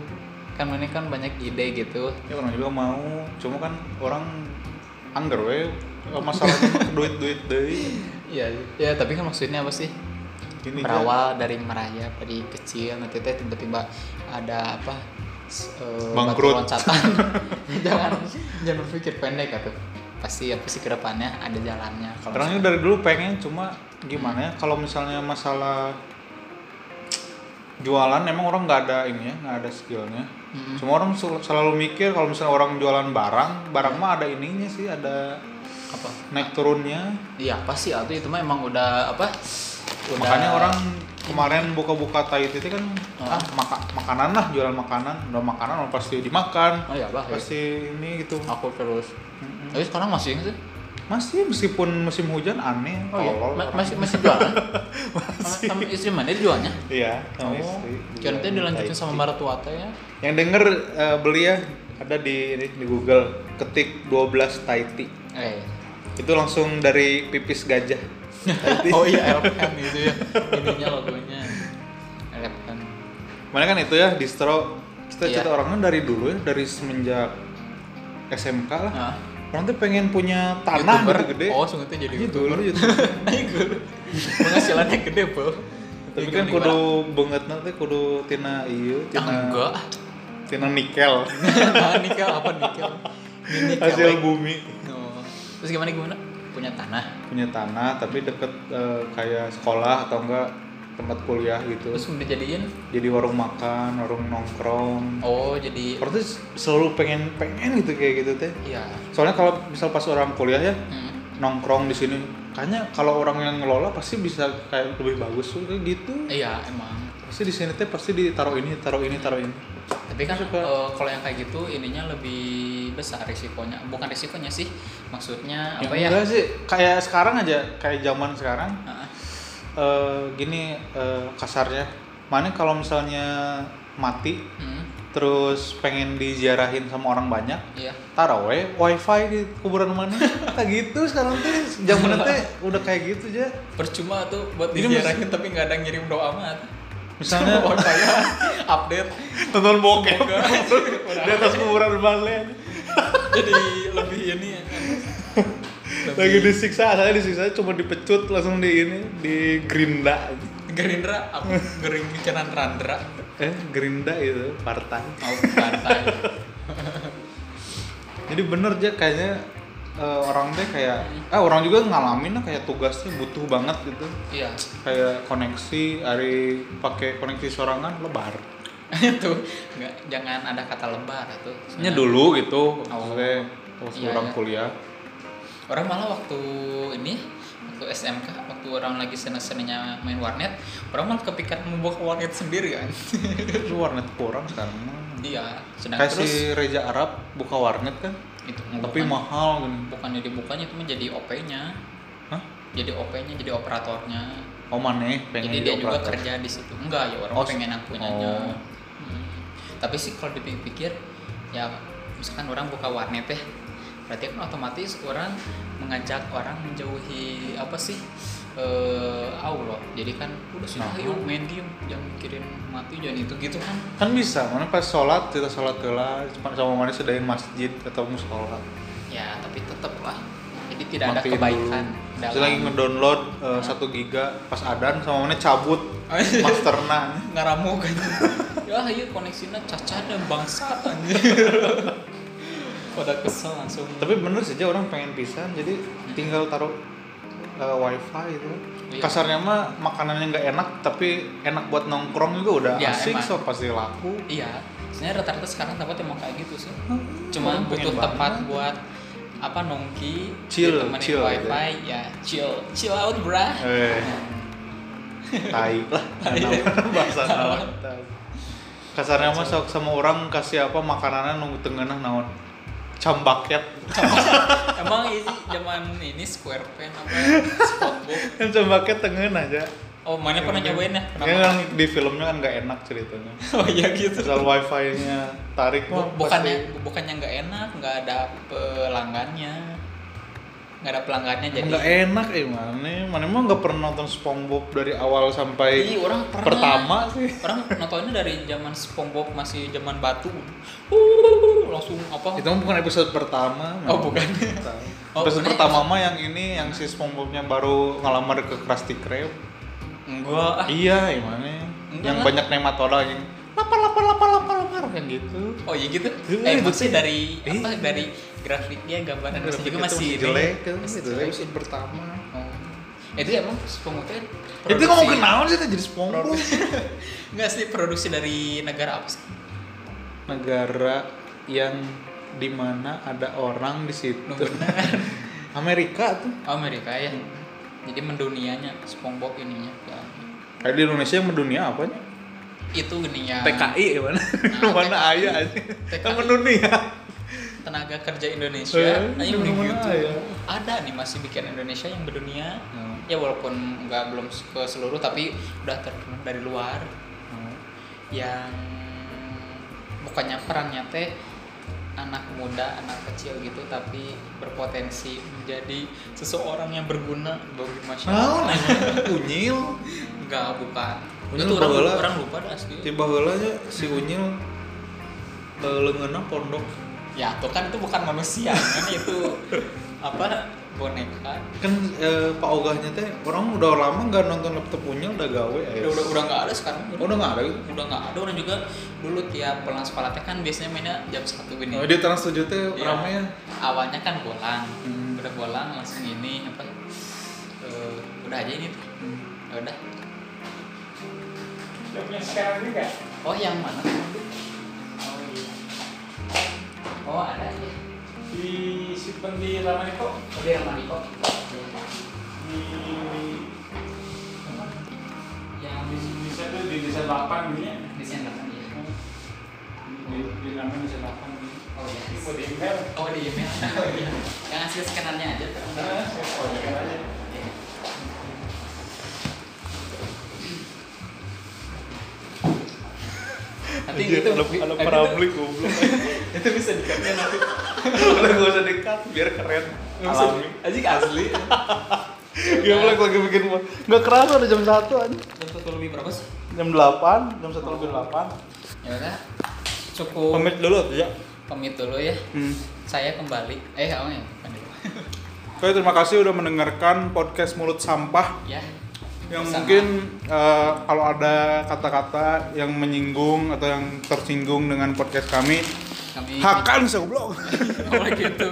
Speaker 2: kan ini kan banyak ide gitu
Speaker 1: Ya orang juga mau, cuma kan orang anggar we masalahnya duit duit deh.
Speaker 2: ya ya tapi kan maksudnya apa sih
Speaker 1: Gini aja.
Speaker 2: berawal dari merayap dari kecil nanti teh tiba-tiba ada apa s- eh,
Speaker 1: Bangkrut.
Speaker 2: batu loncatan jangan jangan berpikir pendek atau pasti apa sih kedepannya ada jalannya kalau
Speaker 1: Orangnya dari dulu pengen cuma gimana ya kalau misalnya masalah jualan emang orang nggak ada ini ya nggak ada skillnya.
Speaker 2: Mm.
Speaker 1: Cuma orang sel- selalu mikir kalau misalnya orang jualan barang, barang mah ada ininya sih ada
Speaker 2: misalkan- apa
Speaker 1: naik turunnya.
Speaker 2: iya pasti atau itu mah emang udah apa udah
Speaker 1: Makanya orang kemarin buka-buka tai itu kan
Speaker 2: Ah.
Speaker 1: ah maka- makanan lah jualan makanan udah makanan orang pasti dimakan
Speaker 2: oh ya bah ya.
Speaker 1: pasti ini gitu
Speaker 2: aku terus
Speaker 1: Mm-mm.
Speaker 2: tapi sekarang masih gitu
Speaker 1: masih meskipun musim hujan aneh Oh, iya. tolol orang.
Speaker 2: iya. masih masih jualan Sama- sama istri mana dia jualnya
Speaker 1: iya sama
Speaker 2: Oh,
Speaker 1: istri. Iya.
Speaker 2: Jangan nanti
Speaker 1: Jualan
Speaker 2: dilanjutin
Speaker 1: tai.
Speaker 2: sama Maratuata ya.
Speaker 1: Yang denger eh, beli ya ada di ini, di Google ketik 12 Taiti.
Speaker 2: Eh, Eh.
Speaker 1: Itu langsung dari pipis gajah.
Speaker 2: oh iya LPM itu ya. Ininya logonya. LPM.
Speaker 1: Mana kan itu ya distro kita
Speaker 2: Iya.
Speaker 1: cerita orangnya dari dulu ya dari semenjak SMK lah.
Speaker 2: Nah,
Speaker 1: Orang tuh pengen punya tanah
Speaker 2: YouTuber.
Speaker 1: gede.
Speaker 2: Oh, sungguh tuh jadi
Speaker 1: gitu
Speaker 2: YouTuber.
Speaker 1: loh YouTuber.
Speaker 2: Nah, itu. Penghasilannya gede, Bro.
Speaker 1: Tapi kan kudu banget nanti kudu tina iya,
Speaker 2: Iya, Ah,
Speaker 1: tina
Speaker 2: enggak.
Speaker 1: tina nikel
Speaker 2: nah, nikel apa nikel? Ini nikel.
Speaker 1: hasil bumi.
Speaker 2: Oh. Terus gimana gimana? Punya tanah.
Speaker 1: Punya tanah tapi deket eh, kayak sekolah atau enggak tempat kuliah gitu.
Speaker 2: Terus udah jadiin.
Speaker 1: Jadi warung makan, warung nongkrong.
Speaker 2: Oh, jadi
Speaker 1: Orang tuh selalu pengen pengen gitu kayak gitu teh.
Speaker 2: iya.
Speaker 1: Soalnya kalau misal pas orang kuliah ya
Speaker 2: Hmm.
Speaker 1: nongkrong di sini, kayaknya kalau orang yang ngelola pasti bisa kayak lebih bagus tuh, kayak gitu.
Speaker 2: Iya, emang.
Speaker 1: Pasti di sini teh pasti ditaruh ini, taruh ini, taruh ini.
Speaker 2: tapi kan
Speaker 1: Suka.
Speaker 2: eh, kalau yang kayak gitu ininya lebih besar risikonya bukan risikonya sih maksudnya apa ya
Speaker 1: enggak sih kayak sekarang aja kayak zaman sekarang
Speaker 2: Heeh.
Speaker 1: eh, gini eh, kasarnya mana kalau misalnya mati
Speaker 2: Hmm,
Speaker 1: terus pengen diziarahin sama orang banyak
Speaker 2: iya
Speaker 1: taruh we wifi di kuburan mana tak gitu sekarang teh zaman teh udah kayak gitu aja
Speaker 2: percuma tuh buat
Speaker 1: Jadi
Speaker 2: diziarahin tapi nggak ada yang ngirim doa amat
Speaker 1: Misalnya-
Speaker 2: Doa saya update
Speaker 1: tonton bokep
Speaker 2: Semoga.
Speaker 1: di atas kuburan balen
Speaker 2: jadi lebih ini ya kan.
Speaker 1: lagi
Speaker 2: Lebih-
Speaker 1: disiksa saya disiksa cuma dipecut langsung di ini di gerinda
Speaker 2: gerindra apa gering bicaran randra
Speaker 1: eh gerinda itu partai
Speaker 2: mau pantai
Speaker 1: Jadi bener aja kayaknya eh, orang teh kayak ah orang juga ngalamin lah kayak tugasnya butuh banget gitu.
Speaker 2: iya
Speaker 1: Kayak koneksi hari pakai koneksi sorangan lebar.
Speaker 2: itu nggak jangan ada kata lebar tuh
Speaker 1: Nya dulu gitu
Speaker 2: Oh.
Speaker 1: maksudnya pas
Speaker 2: Iya,
Speaker 1: orang
Speaker 2: iya.
Speaker 1: kuliah.
Speaker 2: orang malah waktu ini waktu SMK waktu orang lagi seneng-senengnya main warnet orang malah kepikiran membuka warnet sendiri kan
Speaker 1: Itu warnet kurang sekarang. mah.
Speaker 2: iya sedang
Speaker 1: Kayak
Speaker 2: terus
Speaker 1: si Reza Arab buka warnet kan,
Speaker 2: itu
Speaker 1: tapi
Speaker 2: bukan-
Speaker 1: mahal gini.
Speaker 2: bukannya dibukanya itu menjadi OP-nya
Speaker 1: Hah?
Speaker 2: jadi OP-nya jadi operatornya
Speaker 1: Oh maneh pengen
Speaker 2: jadi dia juga
Speaker 1: operator.
Speaker 2: kerja di situ enggak ya orang
Speaker 1: Oh,
Speaker 2: pengen yang
Speaker 1: oh.
Speaker 2: punyanya Hmm. tapi sih kalau dipikir-pikir ya misalkan orang buka warnet ya berarti kan otomatis orang mengajak orang menjauhi apa sih eh Allah jadi kan udah sudah
Speaker 1: Nah.
Speaker 2: yuk main game jangan mikirin mati jangan itu gitu kan
Speaker 1: Kan bisa, mana pas sholat kita sholat telah sama mana sedain masjid atau musola.
Speaker 2: ya tapi tetap lah jadi tidak ada
Speaker 1: Matiin
Speaker 2: kebaikan
Speaker 1: dulu.
Speaker 2: dalam
Speaker 1: Saya lagi ngedownload uh, 1 giga pas adan sama mana cabut masterna.
Speaker 2: ngaramuk kan ya iya koneksinya caca dan bangsa anjir pada kesel langsung
Speaker 1: Tapi bener sih aja orang pengen pisan jadi tinggal taruh uh, wifi itu.
Speaker 2: Iya.
Speaker 1: Kasarnya mah makanannya nggak enak tapi enak buat nongkrong juga udah
Speaker 2: Ya,
Speaker 1: asik
Speaker 2: emang.
Speaker 1: so pasti laku.
Speaker 2: iya sebenarnya rata-rata sekarang tempat emang kayak gitu sih cuma
Speaker 1: Orang
Speaker 2: butuh
Speaker 1: pengen
Speaker 2: tempat
Speaker 1: banget.
Speaker 2: buat apa nongki
Speaker 1: Chill,
Speaker 2: ditemenin
Speaker 1: chill aja.
Speaker 2: wifi ya chill chill out brah
Speaker 1: Eh. tai lah
Speaker 2: Tai.
Speaker 1: bahasa naon. tai. Kasarnya mah sok sama orang kasih apa makanannya nunggu tengah naon. Cambaket.
Speaker 2: emang ini zaman ini square pen apa spotbook
Speaker 1: Kan cambaket tengah aja.
Speaker 2: oh
Speaker 1: Iya,
Speaker 2: mana pernah nyobain ya pernah
Speaker 1: Ini
Speaker 2: makan?
Speaker 1: kan di filmnya kan nggak enak ceritanya.
Speaker 2: oh iya gitu
Speaker 1: Soal wifi-nya tarik
Speaker 2: Bu- ya?
Speaker 1: mah
Speaker 2: bukannya bukannya nggak enak nggak ada pelanggannya nggak ada pelanggannya
Speaker 1: pasti
Speaker 2: jadi
Speaker 1: nggak enak eh mana mana emang nggak pernah nonton SpongeBob dari awal sampai
Speaker 2: Ih, orang pernah.
Speaker 1: pertama sih.
Speaker 2: orang nontonnya dari zaman SpongeBob masih zaman batu Uh, langsung apa
Speaker 1: Itu mah bukan episode pertama.
Speaker 2: Oh,
Speaker 1: mana.
Speaker 2: bukan. Oh,
Speaker 1: episode
Speaker 2: bukan
Speaker 1: pertama mah yang ini yang si SpongeBobnya baru ngelamar ke Krusty Krab.
Speaker 2: enggak ah.
Speaker 1: Iya, gimana?
Speaker 2: Enggak
Speaker 1: Yang
Speaker 2: lah.
Speaker 1: banyak nematoda yang lapar lapar lapar lapar lapar yang gitu.
Speaker 2: oh iya gitu
Speaker 1: Iya,
Speaker 2: eh
Speaker 1: itu
Speaker 2: maksudnya dari
Speaker 1: Iya.
Speaker 2: apa dari grafiknya gambaran masih
Speaker 1: Grafik
Speaker 2: juga
Speaker 1: itu
Speaker 2: masih ini.
Speaker 1: jelek, kan?
Speaker 2: Masih
Speaker 1: Itu
Speaker 2: jelek.
Speaker 1: episode pertama.
Speaker 2: Oh. itu emang SpongeBobnya
Speaker 1: Ya, Itu
Speaker 2: produksi-
Speaker 1: ngomong kenalan sih jadi SpongeBob.
Speaker 2: produksi nggak sih produksi dari negara apa sih
Speaker 1: negara yang dimana ada orang di situ.
Speaker 2: Benar.
Speaker 1: Amerika tuh.
Speaker 2: Amerika ya jadi mendunianya SpongeBob ininya ya.
Speaker 1: Kayak di Indonesia yang mendunia apanya? Ah.
Speaker 2: itu ininya
Speaker 1: TKI gimana?
Speaker 2: Nah,
Speaker 1: mana
Speaker 2: TKI.
Speaker 1: ayah aja.
Speaker 2: TKI.
Speaker 1: Kan mendunia.
Speaker 2: tenaga kerja Indonesia
Speaker 1: Eh,
Speaker 2: ayo
Speaker 1: di
Speaker 2: di
Speaker 1: mana
Speaker 2: YouTube
Speaker 1: ya?
Speaker 2: ada nih masih bikin Indonesia yang berdunia
Speaker 1: Hmm.
Speaker 2: ya walaupun nggak belum ke seluruh tapi udah terkenal dari luar yang bukannya perannya teh anak muda, anak kecil gitu tapi berpotensi menjadi seseorang yang berguna
Speaker 1: Naon
Speaker 2: bagi masyarakat.
Speaker 1: anjing? unyil
Speaker 2: Enggak, bukan.
Speaker 1: Ini
Speaker 2: Itu orang,
Speaker 1: bola.
Speaker 2: orang lupa dah asli.
Speaker 1: tiba heula nya si unyil eh, leungeunna pondok
Speaker 2: Ya, itu kan itu bukan manusia, kan itu apa boneka.
Speaker 1: kan eh, pak ogahnya teh orang udah lama nggak nonton laptop unyil udah gawe eh.
Speaker 2: Udah udah udah nggak ada sekarang.
Speaker 1: Oh, udah nggak ada gitu?
Speaker 2: Udah nggak ada orang juga dulu tiap pulang sekolah teh kan biasanya mainnya jam satu gini.
Speaker 1: Oh, di trans tujuh teh
Speaker 2: Iya.
Speaker 1: rame ya
Speaker 2: awalnya kan bolang
Speaker 1: Hmm.
Speaker 2: udah bolang langsung ini apa eh, udah aja ini tuh Ya udah oh yang mana
Speaker 3: Oh iya.
Speaker 2: oh ada ya
Speaker 3: Disimpan di lama kok.
Speaker 2: udah yang mana kok Iya.
Speaker 3: Di apa?
Speaker 2: yang
Speaker 3: Di desa tuh di desa delapan gitu ya.
Speaker 2: di sana kan ya
Speaker 3: Di di lama desa delapan gitu.
Speaker 2: oh ya
Speaker 3: Ini buat email.
Speaker 2: oh di email Oh, iya. yang hasil skenarnya aja tuh.
Speaker 3: Nah, saya fotokan aja.
Speaker 2: Ya. nanti
Speaker 1: Anjir,
Speaker 2: itu
Speaker 1: ada- ada
Speaker 2: nanti itu-
Speaker 1: parablik goblok
Speaker 2: itu bisa dikatnya nanti
Speaker 1: boleh gak usah dekat biar keren alami
Speaker 2: Aji asli
Speaker 1: ya boleh lagi bikin nggak kerasa udah jam satu anjing
Speaker 2: jam satu lebih berapa sih
Speaker 1: jam delapan jam satu lebih delapan
Speaker 2: ya udah cukup pamit.
Speaker 1: pamit dulu ya
Speaker 2: dulu ya
Speaker 1: hmm.
Speaker 2: saya kembali eh apa ya bukan dulu.
Speaker 1: Oke, terima kasih udah mendengarkan podcast mulut sampah
Speaker 2: ya
Speaker 1: yang
Speaker 2: Bersama.
Speaker 1: mungkin eh, kalau ada kata-kata yang menyinggung atau yang tersinggung dengan podcast kami
Speaker 2: kami
Speaker 1: hakan seblok
Speaker 2: oh gitu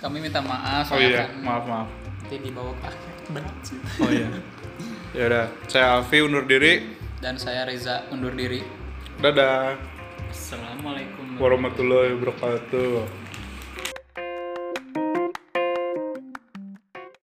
Speaker 2: kami minta maaf
Speaker 1: oh
Speaker 2: saya
Speaker 1: iya maaf maaf
Speaker 2: nanti dibawa ke akhir berat sih
Speaker 1: oh iya ya udah saya Alfi undur diri
Speaker 2: dan saya Reza undur diri
Speaker 1: dadah
Speaker 2: assalamualaikum
Speaker 1: warahmatullahi wabarakatuh